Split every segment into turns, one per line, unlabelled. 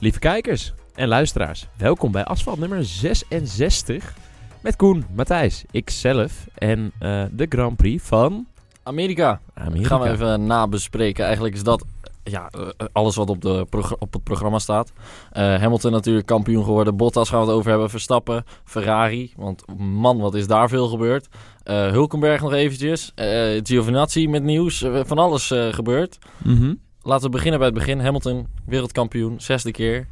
Lieve kijkers en luisteraars, welkom bij Asfalt nummer 66 met Koen, Matthijs, ikzelf en eh, de Grand Prix van
Amerika.
Amerika.
Gaan we even nabespreken. Eigenlijk is dat ja, eh, eh, alles wat op, de progr- op het programma staat. Eh, Hamilton natuurlijk kampioen geworden. Bottas gaan we het over hebben. Verstappen. Ferrari. Want man, wat is daar veel gebeurd. Eh, Hulkenberg nog eventjes. Eh, Giovinazzi met nieuws. Eh, van alles eh, gebeurd.
Mhm.
Laten we beginnen bij het begin. Hamilton, wereldkampioen. Zesde keer.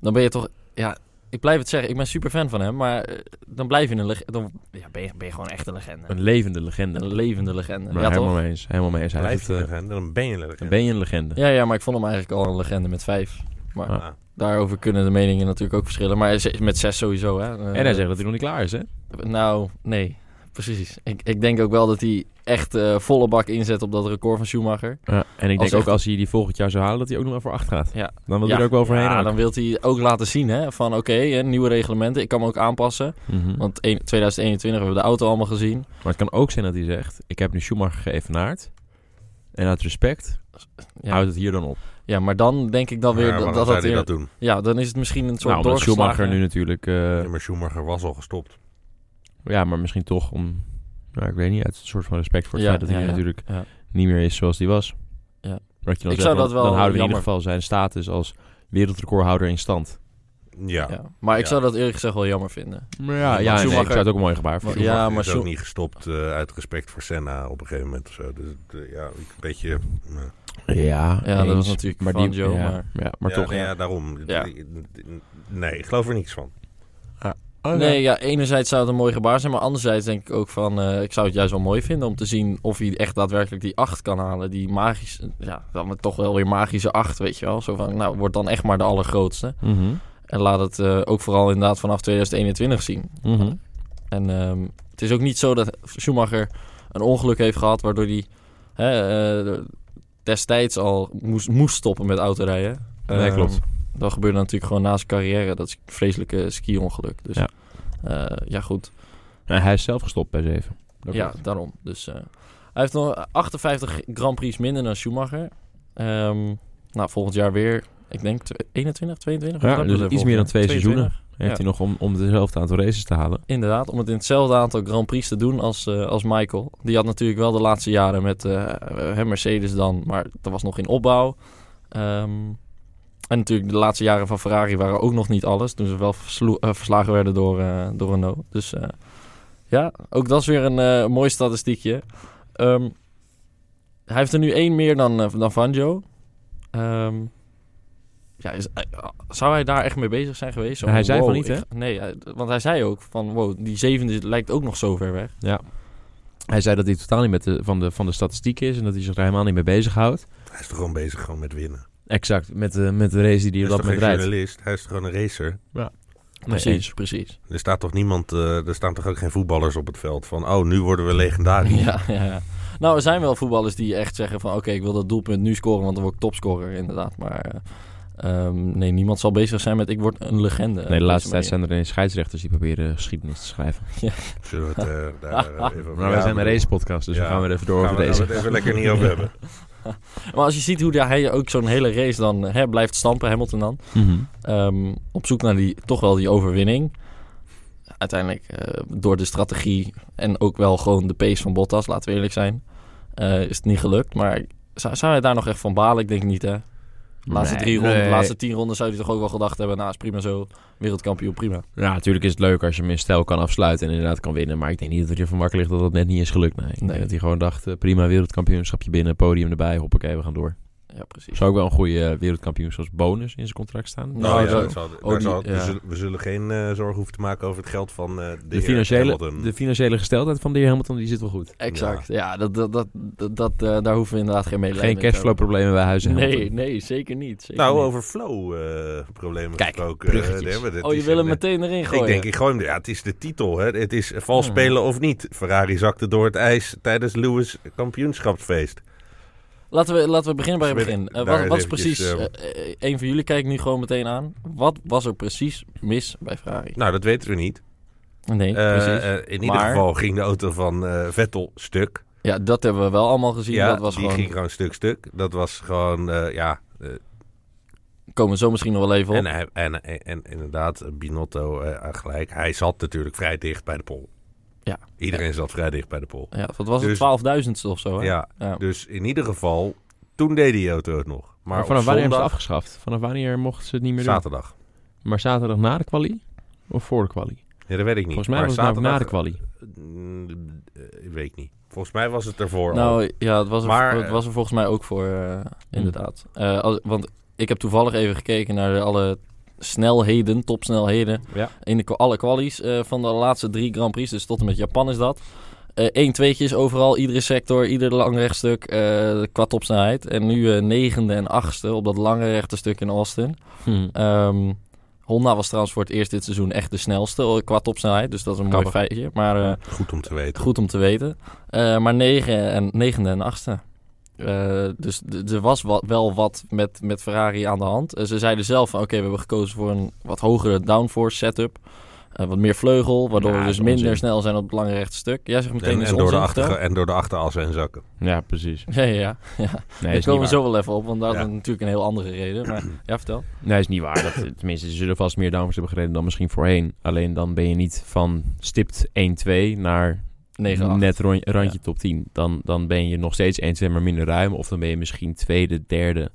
Dan ben je toch... Ja, ik blijf het zeggen. Ik ben super fan van hem. Maar eh, dan blijf je een legende. Dan ja, ben, je, ben je gewoon echt een legende.
Een levende legende.
Een levende legende.
Maar
ja, toch?
helemaal mee eens. Helemaal mee eens. Hij
Blijf je
heeft het, eh,
legende, dan ben je een legende.
dan ben je een legende.
Ja, ja, maar ik vond hem eigenlijk al een legende met vijf. Maar
Ah.
daarover kunnen de meningen natuurlijk ook verschillen. Maar hij is- met zes sowieso, hè. Eh,
En hij zegt dat hij nog niet klaar is, hè?
Nou, nee. Precies. Ik, ik denk ook wel dat hij echt eh, volle bak inzet op dat record van Schumacher.
En ik
Als
denk ook
echt-
als hij die volgend jaar zou halen, dat hij ook nog wel voor 8 gaat.
Ja.
Dan wil hij er ook wel overheen.
Ja,
ook.
dan wil hij ook laten zien, hè. Van oké, hè, nieuwe reglementen. Ik kan me ook aanpassen.
Mhm.
Want een- 2021 hebben we de auto allemaal gezien.
Maar het kan ook zijn dat hij zegt, ik heb nu Schumacher geëvenaard. En uit respect
Ja.
houdt het hier dan op.
Ja, maar dan denk ik dan weer
Maar
dat
waarom
dat,
zou
dat
hij
weer-
dat doen?
Ja, dan is het misschien een soort
Nou, omdat
doorgeslagen-
Schumacher nu natuurlijk... eh,
Ja, maar Schumacher was al gestopt.
Ja, maar misschien toch om... Nou, ik weet niet, uit een soort van respect voor het
Ja,
feit dat hij
ja,
nu
ja.
natuurlijk
Ja.
niet meer is zoals hij was.
Ja.
Dat je dan
Ik
zegt,
zou
dan-
dat wel
dan houden we in ieder
jammer-
geval zijn status als wereldrecordhouder in stand.
Ja.
Ja. Maar ik
Ja.
zou dat eerlijk gezegd wel jammer vinden.
Maar
ja,
ja, ja
Schumacher-
nee, ik zou het ook een mooi gebaar vinden.
Schumacher
Ja, maar
is ook
Schu-
niet gestopt eh, uit respect voor Senna op een gegeven moment of zo. Dus eh, ja, ik- een beetje... eh,
Ja,
Ja, dat was
eens.
natuurlijk
maar
van
die,
Joe,
ja,
maar...
ja, maar
ja,
toch.
nou ja, daarom.
Ja.
Nee, ik geloof er niks van.
Oh,
Nee, Oh, ja, enerzijds zou het een mooi gebaar zijn, maar anderzijds denk ik ook van... eh, ik zou het juist wel mooi vinden om te zien of hij echt daadwerkelijk die 8 kan halen. Die magische, ja, dan toch wel weer magische 8, weet je wel. Zo van, nou, wordt dan echt maar de allergrootste.
Mhm,
En laat het eh, ook vooral inderdaad vanaf 2021 zien.
mhm.
En ehm, het is ook niet zo dat Schumacher een ongeluk heeft gehad... waardoor hij hè, eh, destijds al moest, moest stoppen met autorijden.
Nee,
Ehm,
klopt.
Dat gebeurde natuurlijk gewoon na zijn carrière. Dat is een vreselijke ski-ongeluk. Dus
Ja.
eh, ja, goed.
Nee, Nou, hij is zelf gestopt bij 7.
ja, daarom. Dus eh, hij heeft nog 58 Grand Prix minder dan Schumacher. Ehm, nou, volgend jaar weer, ik denk tw- 21, 22?
Ja,
Wat hebben
dus
we er
iets
volgend
meer dan
jaar?
twee seizoenen.
22.
Heeft hij nog om, om dezelfde aantal races te halen?
Inderdaad, om het in hetzelfde aantal Grand Prix te doen als, eh, als Michael. Die had natuurlijk wel de laatste jaren met eh, hè, Mercedes dan, maar dat was nog in opbouw. Ehm, en natuurlijk de laatste jaren van Ferrari waren ook nog niet alles. Toen ze wel verslo- eh, verslagen werden door, eh door Renault. Dus eh, ja, ook dat is weer een eh, mooi statistiekje. Ehm, hij heeft er nu één meer dan, eh, dan Vanjo. Ehm, ja, is- eh, zou hij daar echt mee bezig zijn geweest? Zo
Hij zei van
wow,
niet,
ik-
hè?
nee, hij- want hij zei ook van, wow, die zevende lijkt ook nog zo ver weg.
Hij zei dat hij totaal niet met de, van, de, van de statistiek is en dat hij zich daar helemaal niet mee bezighoudt.
Hij is toch gewoon bezig gewoon met winnen.
Exact, met, de met de race die
Hij
hij op
is
dat
toch geen
moment rijdt.
journalist, hij is toch gewoon een racer.
Nee, eens.
precies.
Er staat toch niemand, eh, er staan toch ook geen voetballers op het veld van, oh, nu worden we legendarisch.
Ja, ja, ja. Nou, er zijn wel voetballers die echt zeggen van... oké, ik wil dat doelpunt nu scoren, want dan word ik topscorer, inderdaad. Maar eh, ehm, nee, niemand zal bezig zijn met... ik word een legende.
Nee, de
Op
laatste tijd
deze
zijn er ineens scheidsrechters die proberen geschiedenis te schrijven.
Zullen we het eh, daar eh, even over
Maar wij zijn een
bedoel,
racepodcast, dus
Ja.
we gaan weer even door
gaan
over
we-
deze.
Gaan we het even lekker niet over hebben.
manier. Maar als je ziet hoe hij ook zo'n hele race dan hè, blijft stampen, Hamilton dan...
Mhm.
ehm, op zoek naar die, toch wel die overwinning... Uiteindelijk eh, door de strategie en ook wel gewoon de pace van Bottas, laten we eerlijk zijn, eh, is het niet gelukt. Maar zou, zou hij daar nog echt van balen? Ik denk niet, hè? De laatste,
Nee,
drie ronden,
nee.
de laatste tien ronden zou hij toch ook wel gedacht hebben... nou, is prima zo, wereldkampioen, prima.
Ja, natuurlijk is het leuk als je hem in stijl kan afsluiten en inderdaad kan winnen. Maar ik denk niet dat het je van wakker ligt dat dat net niet is gelukt. Nee, ik
Nee.
denk dat hij gewoon dacht, eh, prima wereldkampioenschapje binnen, podium erbij, hoppakee, we gaan door.
Ja, precies.
Zou ook wel een goede eh, wereldkampioenschapsbonus in zijn contract staan.
Nou,
Oh, ja,
zo-
dat zal- daar
die-
zal- we,
ja.
zullen, we zullen geen eh, zorgen hoeven te maken over het geld van eh, de,
De
heer
financiële,
Hamilton.
de financiële gesteldheid van de heer Hamilton die zit wel goed.
Exact. Ja, dat, dat, dat, dat, dat, eh, daar hoeven we inderdaad geen medelijden
Geen
mee te
cashflow problemen bij huizen.
hebben. Nee,
Hamilton.
nee, zeker niet. zeker
Nou,
niet.
over flow-problemen
Kijk,
gesproken. eh,
bruggetjes.
daar hebben we dit-
Oh, je
die
wil hem
zijn, eh,
meteen erin gooien?
Ik denk, ik gooi hem er- Ja, het is de titel. Hè. Het is vals
Hmm.
spelen of niet. Ferrari zakte door het ijs tijdens Lewis' kampioenschapsfeest.
Laten we, laten we beginnen bij het
Dus we-
begin. Eh,
daar
wat,
eens
wat is
eventjes,
precies... eh, eh, een van jullie kijkt nu gewoon meteen aan. Wat was er precies mis bij Ferrari?
Nou, dat weten we niet.
Nee,
Eh,
precies.
eh, in ieder
Maar-
geval ging de auto van eh, Vettel stuk.
ja, dat hebben we wel allemaal gezien.
ja,
dat was
die
gewoon
ging gewoon stuk stuk. Dat was gewoon, eh, ja... eh,
komen we zo misschien nog wel even op.
En, hij- en, en, en inderdaad, Binotto eh, gelijk. Hij zat natuurlijk vrij dicht bij de pol.
Ja.
Iedereen zat vrij dicht bij de pol.
ja, wat was
Dus-
het? 12.000ste of zo, hè?
Ja,
Ja.
dus in ieder geval, toen deed die auto het nog. Maar,
Maar
op
vanaf wanneer hebben ze het
zondag,
afgeschaft? Vanaf wanneer mochten ze het niet meer doen?
zaterdag.
Maar zaterdag na de kwalie? Of voor de kwalie?
Ja, dat weet ik niet.
Volgens mij
Maar
was het namelijk na de
zaterdag-
kwalie.
Mm, eh, Ik weet niet. Volgens mij was het ervoor al.
Nou ja, het was er,
Maar,
het
eh, mm.
was er volgens mij ook voor, eh, inderdaad. Eh, als- want ik heb toevallig even gekeken naar de alle snelheden, topsnelheden.
Ja.
In de, kwa- alle kwalies eh, van de laatste drie Grand Prix. Dus tot en met Japan is dat. Eh, Eén tweetjes overal, iedere sector, ieder lang rechtstuk eh, qua topsnelheid. En nu eh, negende en achtste op dat lange rechte stuk in Austin.
Hm.
Ehm, Honda was trouwens voor het eerst dit seizoen echt de snelste qua topsnelheid. Dus dat is een mooi
Grappig.
feitje. Maar eh,
Goed om te weten.
Goed om te weten. Eh, maar negen en, negende en achtste. Eh, dus d- er was wa- wel wat met, met Ferrari aan de hand. Eh, ze zeiden zelf van oké, we hebben gekozen voor een wat hogere downforce setup. Eh, wat meer vleugel, waardoor
Ja,
we dus
dat is
minder
onzin.
snel zijn op het lange rechte stuk. Jij zegt meteen
En,
is
en, door de
onzin,
achter,
vertel.
en door de achterassen en zakken.
Ja, precies.
Ja, ja, ja. ja.
Nee, is
Daar
niet
komen we
waar.
zo wel even op, want daar hadden
Ja.
we natuurlijk een heel andere reden. Maar ja, vertel.
Nee, is niet waar. Dat, tenminste, ze zullen vast meer downforce hebben gereden dan misschien voorheen. Alleen dan ben je niet van stipt 1-2 naar
9 8.
net rond- randje top 10. Dan, dan ben je nog steeds 1-2, maar minder ruim. Of dan ben je misschien tweede, derde.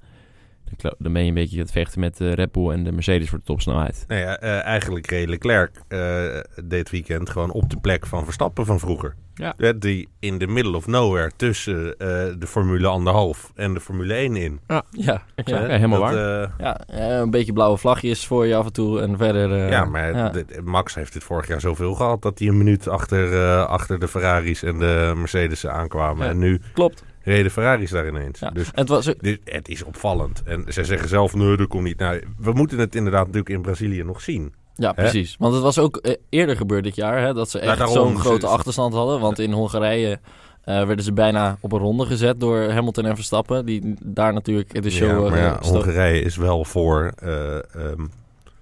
Dan kla- Dan ben je een beetje aan het vechten met de Red Bull en de Mercedes voor de topsnelheid.
Nou ja, eh, eigenlijk reed Leclerc eh, dit weekend gewoon op de plek van Verstappen van vroeger.
Ja.
Eh, Die in the middle of nowhere tussen eh, de Formule 1,5 en de Formule 1 in.
Ja,
Ja,
ja.
helemaal
Dat,
waar.
eh,
ja, eh, een beetje blauwe vlagjes voor je af en toe en verder... eh,
ja, maar dit- Max heeft dit vorig jaar zoveel gehad dat hij een minuut achter, eh, achter de Ferraris en de Mercedes aankwamen.
Ja.
En nu
klopt.
reden Ferraris daar ineens.
Ja.
Dus
En het was,
dit, het is opvallend. En ze zeggen zelf, nee, dat komt niet. Nou, we moeten het inderdaad natuurlijk in Brazilië nog zien.
Ja,
Hè?
precies. Want het was ook eh, eerder gebeurd dit jaar hè, dat ze
Ja,
echt
daarom.
zo'n
Ze-
grote
ze-
achterstand hadden. Want in Hongarije eh, werden ze bijna op een ronde gezet door Hamilton en Verstappen. Die daar natuurlijk de show
ja, maar
eh,
ja,
sto-
Hongarije is wel voor... eh, ehm,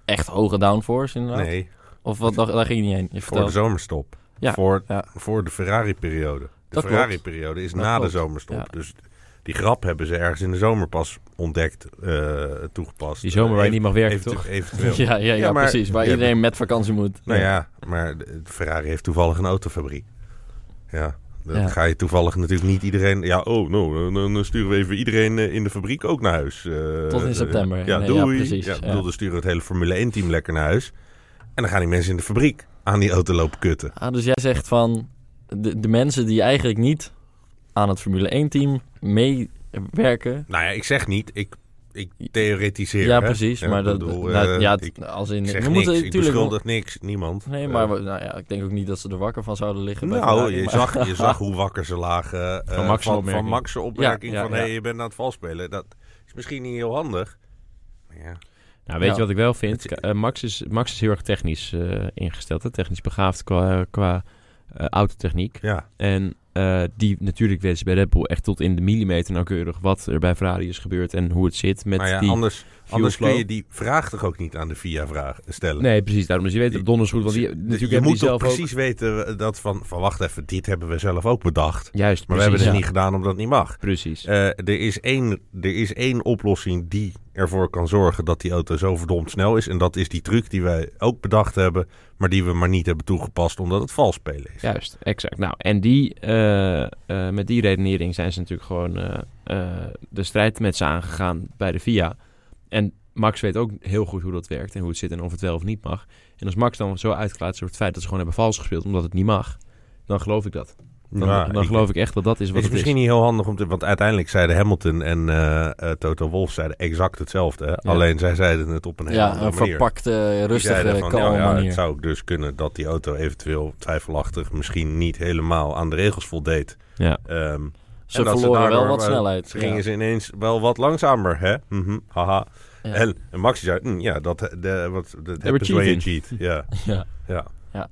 echt hoge downforce inderdaad.
nee,
Of wat, daar, daar ging je niet heen. Je
Voor de
vertelt.
zomerstop.
Ja,
Voor,
ja.
voor de Ferrari-periode. De
Dat klopt.
Ferrari-periode is
Dat
na
klopt.
de zomerstop.
Ja.
Dus die grap hebben ze ergens in de zomer pas ontdekt, eh, toegepast.
Die zomer waar je
Eh,
niet mag werken,
eventu-
toch?
Eventueel.
ja, ja, ja,
Ja, maar-
precies. Waar
Ja,
iedereen met vakantie moet.
Nou ja, maar de- de Ferrari heeft toevallig een autofabriek. Ja, dan
Ja.
ga je toevallig natuurlijk niet iedereen... Ja, oh, nou, dan, dan sturen we even iedereen eh, in de fabriek ook naar huis. Eh,
Tot in september.
Ja,
Nee, ja,
doei. Ja,
precies,
ik
ja.
bedoel, dan sturen we het hele Formule 1-team lekker naar huis. En dan gaan die mensen in de fabriek aan die auto lopen kutten.
Ah, dus jij zegt van de, de mensen die eigenlijk niet aan het Formule 1-team meewerken.
Nou ja, ik zeg niet. Ik, ik theoretiseer.
ja,
hè.
precies.
Ja,
maar
ik
dat,
bedoel,
nou,
eh,
ja,
ik
t- als in.
ik zeg
we
niks.
moeten
ik
natuurlijk nog-
beschuldig niks. Niemand.
Nee,
Eh,
maar we- nou ja, ik denk ook niet dat ze er wakker van zouden liggen. bij
nou,
Ferrari,
je
maar-
zag, je zag hoe wakker ze lagen. eh,
Van Max'
van,
opmerking.
van Max' opmerking.
Ja, ja,
van,
ja.
hé, je bent aan het valspelen. Dat is misschien niet heel handig. Maar Ja.
Nou, weet
Ja.
je wat ik wel vind?
Het-
K- eh, Max, is, Max is heel erg technisch eh, ingesteld. Hè? Technisch begaafd qua, qua eh, autotechniek.
ja.
En eh, die natuurlijk weten ze bij Red Bull echt tot in de millimeter nauwkeurig wat er bij Ferrari is gebeurd en hoe het zit met
Maar ja,
die
anders, anders kun
fuelflow.
je die vraag toch ook niet aan de VIA vraag stellen.
Nee, precies. Daarom dus je weet
Die-
het donders goed, want die,
Dus
natuurlijk
je
hebben die
moet toch
zelf
precies weten dat van, van... Wacht even, dit hebben we zelf ook bedacht.
ook... Juist,
Maar
precies.
we hebben het
ja.
niet gedaan omdat het niet mag.
Precies.
Eh, er, is één, er is één oplossing die ervoor kan zorgen dat die auto zo verdomd snel is. En dat is die truc die wij ook bedacht hebben, maar die we maar niet hebben toegepast omdat het vals spelen is.
Juist, exact. Nou, en die, eh, eh, met die redenering zijn ze natuurlijk gewoon eh, eh, de strijd met ze aangegaan bij de VIA. En Max weet ook heel goed hoe dat werkt en hoe het zit en of het wel of niet mag. En als Max dan zo uitklaat over het feit dat ze gewoon hebben vals gespeeld omdat het niet mag, dan geloof ik dat. Dan,
Ja,
dan
ik-
geloof ik echt dat dat is wat
is
het
misschien
is.
niet heel handig om te... Want uiteindelijk zeiden Hamilton en eh, eh, Toto Wolff zeiden exact hetzelfde. hè.
Ja.
Alleen zij zeiden het op een hele
Ja,
andere
een
manier.
verpakte,
Die zeiden
rustige,
van,
kalme
nou ja,
manier.
Het zou ook dus kunnen dat die auto eventueel twijfelachtig misschien niet helemaal aan de regels voldeed.
Ja.
Ehm,
Ze
En dat
verloren wel
daardoor,
wat
eh,
snelheid.
Ze gingen
Ja.
ze ineens wel wat langzamer, hè? Mhm, haha.
Ja.
En, en Maxi zei, "Mm, ja, dat, de, wat, dat
They were
happens when you
cheating."
cheat. Ja,
Ja.
ja.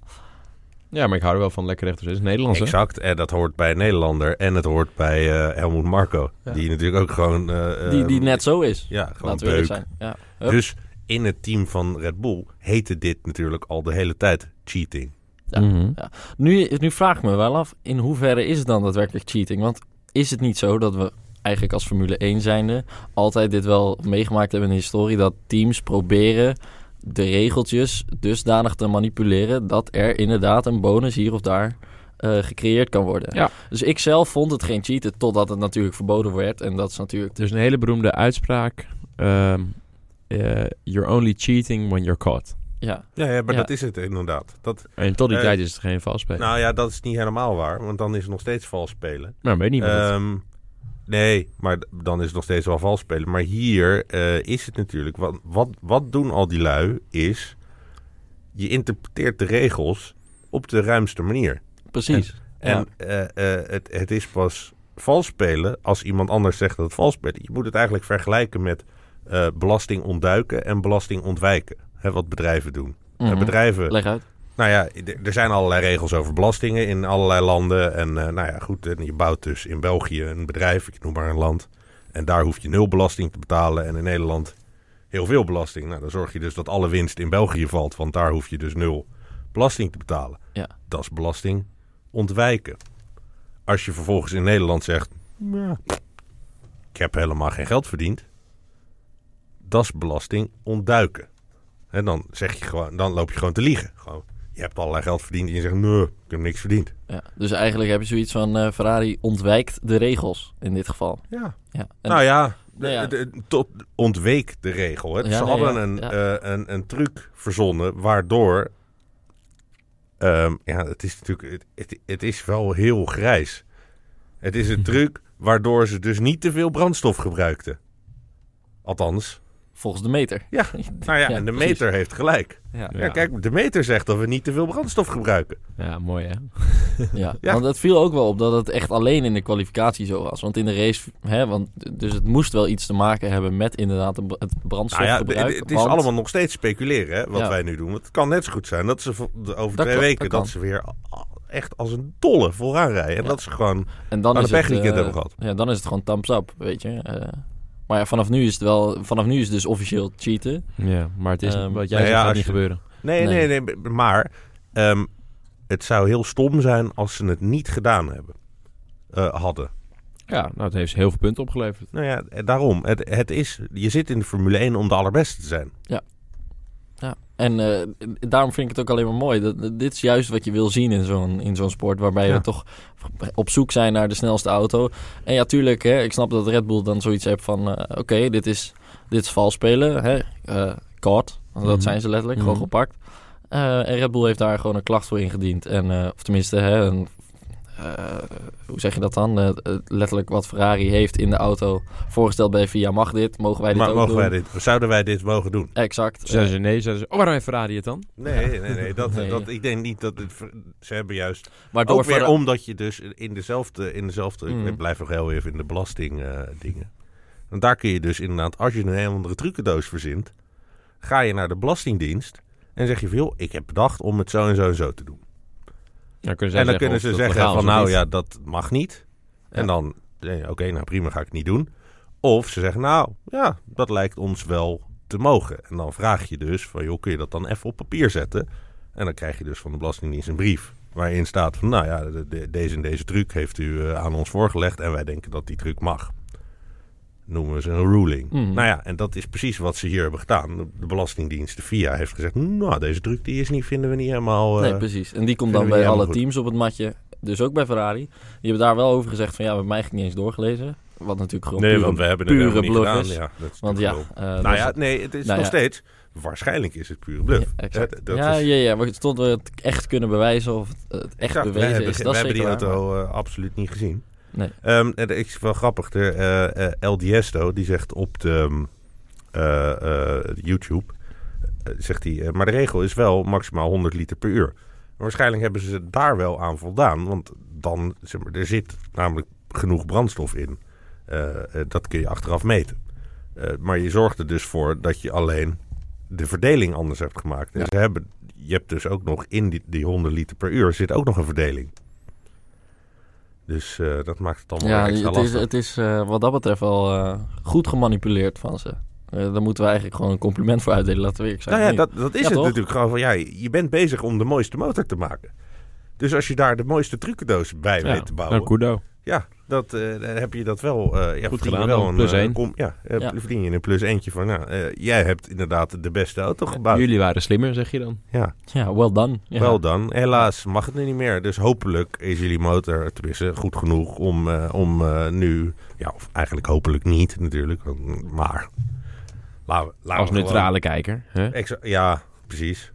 Ja, maar ik hou er wel van lekker rechters. Het is Nederlands, hè?
exact. En dat hoort bij een Nederlander en het hoort bij eh, Helmoet Marco.
Ja.
Die natuurlijk ook gewoon... eh,
Die, die
eh,
net zo is.
Ja, gewoon
Laten we eerlijk
beuk.
zijn. Ja. Hup.
Dus in het team van Red Bull heette dit natuurlijk al de hele tijd cheating.
Ja.
Mhm.
Nu, nu vraag ik me wel af, in hoeverre is het dan daadwerkelijk cheating? Want is het niet zo dat we eigenlijk als Formule 1 zijnde altijd dit wel meegemaakt hebben in de historie. Dat teams proberen de regeltjes dusdanig te manipuleren dat er inderdaad een bonus hier of daar eh, gecreëerd kan worden.
Ja.
Dus ik zelf vond het geen cheaten totdat het natuurlijk verboden werd. En dat is natuurlijk...
Er is een hele beroemde uitspraak. ehm, eh, you're only cheating when you're caught.
Ja,
Ja, ja maar
Ja.
dat is het inderdaad. Dat,
En tot die
Eh,
tijd is het geen valspelen. Nou,
nou ja, dat is niet helemaal waar, want dan is het nog steeds vals spelen.
maar weet niet wat het-
Ehm, nee, maar d- dan is het nog steeds wel vals spelen. Maar hier eh, is het natuurlijk... Wat, wat, wat doen al die lui is... Je interpreteert de regels op de ruimste manier.
precies.
En eh, eh, het, het is pas vals spelen als iemand anders zegt dat het vals spelen. Je moet het eigenlijk vergelijken met eh, belasting ontduiken en belasting ontwijken. Hè, wat bedrijven doen. Eh,
Mhm.
bedrijven
Leg uit.
nou ja, d- er zijn allerlei regels over belastingen in allerlei landen. En eh, nou ja, goed, en je bouwt dus in België een bedrijf, ik noem maar een land. En daar hoef je nul belasting te betalen. En in Nederland heel veel belasting. Nou, dan zorg je dus dat alle winst in België valt, want daar hoef je dus nul belasting te betalen.
Ja.
Dat is belasting ontwijken. Als je vervolgens in Nederland zegt, "Ja, ik heb helemaal geen geld verdiend. Dat is belasting ontduiken. En dan zeg je gewoon, dan loop je gewoon te liegen. Gewoon, je hebt allerlei geld verdiend en je zegt, nee, ik heb niks verdiend.
Ja. Dus eigenlijk heb je zoiets van eh, Ferrari ontwijkt de regels in dit geval.
Ja.
Ja. En-
Nou ja,
Nou ja.
de- de- tot ontweek de regel. Hè.
Ja,
Ze
nee,
hadden
ja,
een,
ja.
eh, een, een truc verzonnen waardoor... ehm, ja, het is natuurlijk... Het, het, het is wel heel grijs. Het is een truc waardoor ze dus niet te veel brandstof gebruikten. Althans.
Volgens de meter.
Ja, nou
Ja,
ja, en de
precies.
meter heeft gelijk.
Ja.
Ja, kijk, de meter zegt dat we niet te veel brandstof gebruiken.
ja, mooi hè.
Ja.
Ja.
want dat viel ook wel op dat het echt alleen in de kwalificatie zo was. Want in de race, hè, want, dus het moest wel iets te maken hebben met inderdaad de br- het
Nou ja,
brandstofgebruik.
het, het is
want-
allemaal nog steeds speculeren hè, wat
Ja.
wij nu doen. Want het kan net zo goed zijn dat ze vo- de- over
Dat
twee
kan,
weken
dat
dat,
kan.
ze weer a- echt als een dolle vooraan rijden. En
Ja.
dat ze gewoon
En dan
aan
is
de pech niet
het, eh,
hebben gehad.
Ja, dan is het gewoon thumbs up, weet je. Eh, maar ja, vanaf nu is het wel, vanaf nu is het dus officieel cheaten.
Ja, maar het is
Ehm,
wat jij
nou
zegt
ja,
gaat
als
niet
je-
gebeuren.
Nee,
Nee.
nee, nee. b- maar ehm, het zou heel stom zijn als ze het niet gedaan hebben. eh, hadden.
Ja, nou het heeft heel veel punten opgeleverd.
Nou ja, eh, daarom. Het, het is, je zit in de Formule 1 om de allerbeste te zijn.
En eh, daarom vind ik het ook alleen maar mooi. Dat, dat- dit is juist wat je wil zien in zo'n, in zo'n sport. Waarbij we
Ja.
toch op zoek zijn naar de snelste auto. En ja, tuurlijk. Hè, ik snap dat Red Bull dan zoiets heeft van... eh, Oké, dit, is, dit is vals spelen. Hè? eh, caught. Want
Mhm.
Dat zijn ze letterlijk.
Mhm.
Gewoon gepakt. Eh, en Red Bull heeft daar gewoon een klacht voor ingediend. En, eh, of tenminste, hè, een, eh, hoe zeg je dat dan? Eh, eh, letterlijk wat Ferrari heeft in de auto voorgesteld bij VIA. Mag dit? Mogen wij dit
maar
ook
mogen
doen?
wij dit, zouden wij dit mogen doen?
Exact. Eh,
Zeiden ze nee, zeiden ze, oh waarom heeft Ferrari het dan?
Nee, nee, nee. Dat,
Nee.
Dat, ik denk niet dat het, ver- ze hebben juist
maar
Ook weer
Ferra-
omdat je dus in dezelfde... In dezelfde
Mm.
Ik blijf nog heel even in de belastingdingen. dingen. Want daar kun je dus inderdaad... Als je een heel andere trucendoos verzint... Ga je naar de belastingdienst... En zeg je veel, ik heb bedacht om het zo en zo en zo te doen.
Dan kunnen zij
en dan
zeggen
kunnen
of
ze
dat
zeggen
legaal is
van
of
nou
niet.
ja, dat mag niet. En
Ja.
dan, eh, oké, nou prima, ga ik het niet doen. Of ze zeggen nou, ja, dat lijkt ons wel te mogen. En dan vraag je dus van joh, kun je dat dan even op papier zetten? En dan krijg je dus van de Belastingdienst een brief waarin staat van nou ja, de- de- deze en deze truc heeft u eh, aan ons voorgelegd en wij denken dat die truc mag. Noemen ze een ruling.
Mhm.
Nou ja, en dat is precies wat ze hier hebben gedaan. De- De Belastingdienst, de FIA, heeft gezegd... nou, deze truc die is niet, vinden we niet helemaal... eh,
Nee, precies. En die komt
vinden
dan
we
bij
niet
alle
helemaal goed.
teams op het matje. Dus ook bij Ferrari. Die hebben daar wel over gezegd van ja, we hebben mij eigenlijk niet eens doorgelezen. Wat natuurlijk gewoon
Nee,
pure-
want we hebben het
pure
helemaal niet
bluff
gedaan.
is.
Ja, dat is
Want ja,
natuurlijk
eh,
wel-
dat
nou
is-
ja, nee, het is
nou
nog
ja.
steeds... Waarschijnlijk is het pure bluff.
Ja, exact.
Hè, dat
ja,
is-
ja, ja, maar tot we het echt kunnen bewijzen of het, het echt
Exact, wij
bewezen
hebben,
is,
ge-
dat
wij
is
hebben die
zeker waar.
auto eh, absoluut niet gezien.
Nee.
Ehm, en ik is wel grappig. De eh, eh, El Diesto, die zegt op de, ehm, eh, eh, YouTube... eh, zegt hij, eh, maar de regel is wel maximaal 100 liter per uur. En waarschijnlijk hebben ze daar wel aan voldaan. Want dan, zeg maar, er zit namelijk genoeg brandstof in. Eh, eh, dat kun je achteraf meten. Eh, maar je zorgt er dus voor dat je alleen de verdeling anders hebt gemaakt. En
Ja.
ze hebben, je hebt dus ook nog in die, die 100 liter per uur zit ook nog een verdeling. Dus eh, dat maakt het allemaal
Ja,
weer extra
het is,
lastig.
het is eh, wat dat betreft wel eh, goed gemanipuleerd van ze. Eh, daar moeten we eigenlijk gewoon een compliment voor uitdelen, laten we eerlijk zijn.
Nou ja,
Nee.
dat, dat is
Ja,
het
toch?
natuurlijk gewoon van ja, je bent bezig om de mooiste motor te maken. Dus als je daar de mooiste trucendoos bij
Ja,
weet te bouwen,
Nou, kudo.
Ja, dat, eh, dan heb je dat wel. eh, ja, verdien je
gedaan
wel
dan, plus
eh,
één.
kom- ja, eh,
Ja.
verdien je een plus eentje van. Nou, eh, jij hebt inderdaad de beste auto gebouwd.
Jullie waren slimmer, zeg je dan.
Ja,
Ja, well done. Ja.
wel dan. Helaas mag het nu niet meer. Dus hopelijk is jullie motor tenminste goed genoeg om, eh, om eh, nu. Ja, of eigenlijk hopelijk niet natuurlijk. want- Maar. Laten we, laten
Als
we gewoon-
neutrale kijker. Hè?
Exa- ja, precies.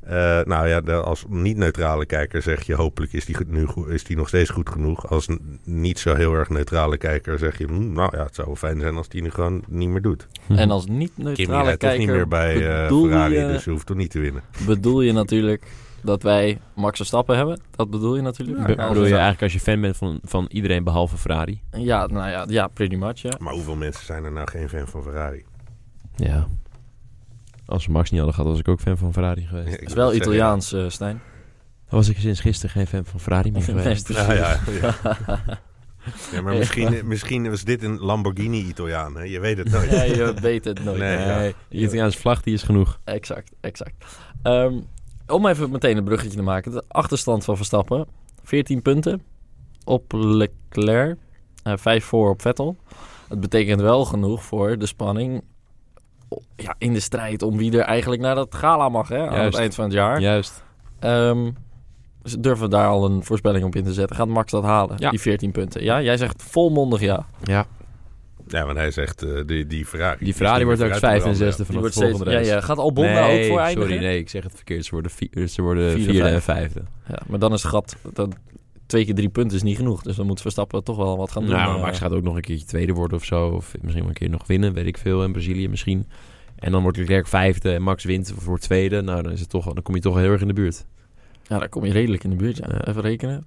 Eh, nou ja, de- als niet-neutrale kijker zeg je hopelijk is die, goed- nu, go- is die nog steeds goed genoeg. Als n- niet zo heel erg neutrale kijker zeg je, "Hmm, nou ja, het zou wel fijn zijn als die nu gewoon niet meer doet.
Hm.
En als
Kim
niet-neutrale
rijdt toch
kijker
niet meer bij eh,
bedoel
Ferrari,
je-
dus je hoeft toch niet te winnen.
bedoel je natuurlijk dat wij Max Verstappen hebben. Dat bedoel je natuurlijk.
Be-
nou,
bedoel je
ja.
eigenlijk als je fan bent van, van iedereen behalve Ferrari?
Ja, nou ja, ja, pretty much, ja.
Maar hoeveel mensen zijn er nou geen fan van Ferrari?
Ja. Als we Max niet hadden gehad, was ik ook fan van Ferrari geweest.
Ik
Het is
wil
wel
zeggen,
Italiaans, eh, Stijn.
Dan was ik sinds gisteren geen fan van Ferrari meer
Nee,
geweest.
precies.
Ja, ja, ja. Ja, maar misschien, misschien was dit een Lamborghini-Italiaan, hè? je weet het nooit.
Ja, je weet het nooit.
Nee, ja.
Nee, de Italiaanse vlag die is genoeg.
Exact, exact. Ehm, om even meteen een bruggetje te maken. De achterstand van Verstappen. 14 punten op Leclerc. eh 5 voor op Vettel. Het betekent wel genoeg voor de spanning o- ja, in de strijd om wie er eigenlijk naar dat gala mag hè, aan het
Juist.
eind van het jaar.
Juist.
Ehm, dus durven we daar al een voorspelling op in te zetten? Gaat Max dat halen,
Ja.
die 14 punten? Ja, jij zegt volmondig ja.
Ja,
Ja, want hij zegt, eh, die, die Ferrari...
die Ferrari wordt ook vijfde en zesde
Die
van de
wordt
volgende
ja,
race.
ja. Gaat Albon daar ook voor eindigen?
sorry, nee, ik zeg het verkeerd. Ze worden, vier, ze worden
Vierde,
vierde, en vijfde.
Ja, maar dan is het gat. Dat, twee keer drie punten is niet genoeg. Dus dan moet Verstappen toch wel wat gaan doen.
Nou, maar
Eh,
Max gaat ook nog een keertje tweede worden of zo. Of misschien wel een keer nog winnen, weet ik veel. En Brazilië misschien. En dan wordt Leclerc vijfde en Max wint voor tweede. Nou, dan, is het toch, dan kom je toch heel erg in de buurt.
Ja, daar kom je redelijk in de buurt. Ja.
Ja.
Even rekenen.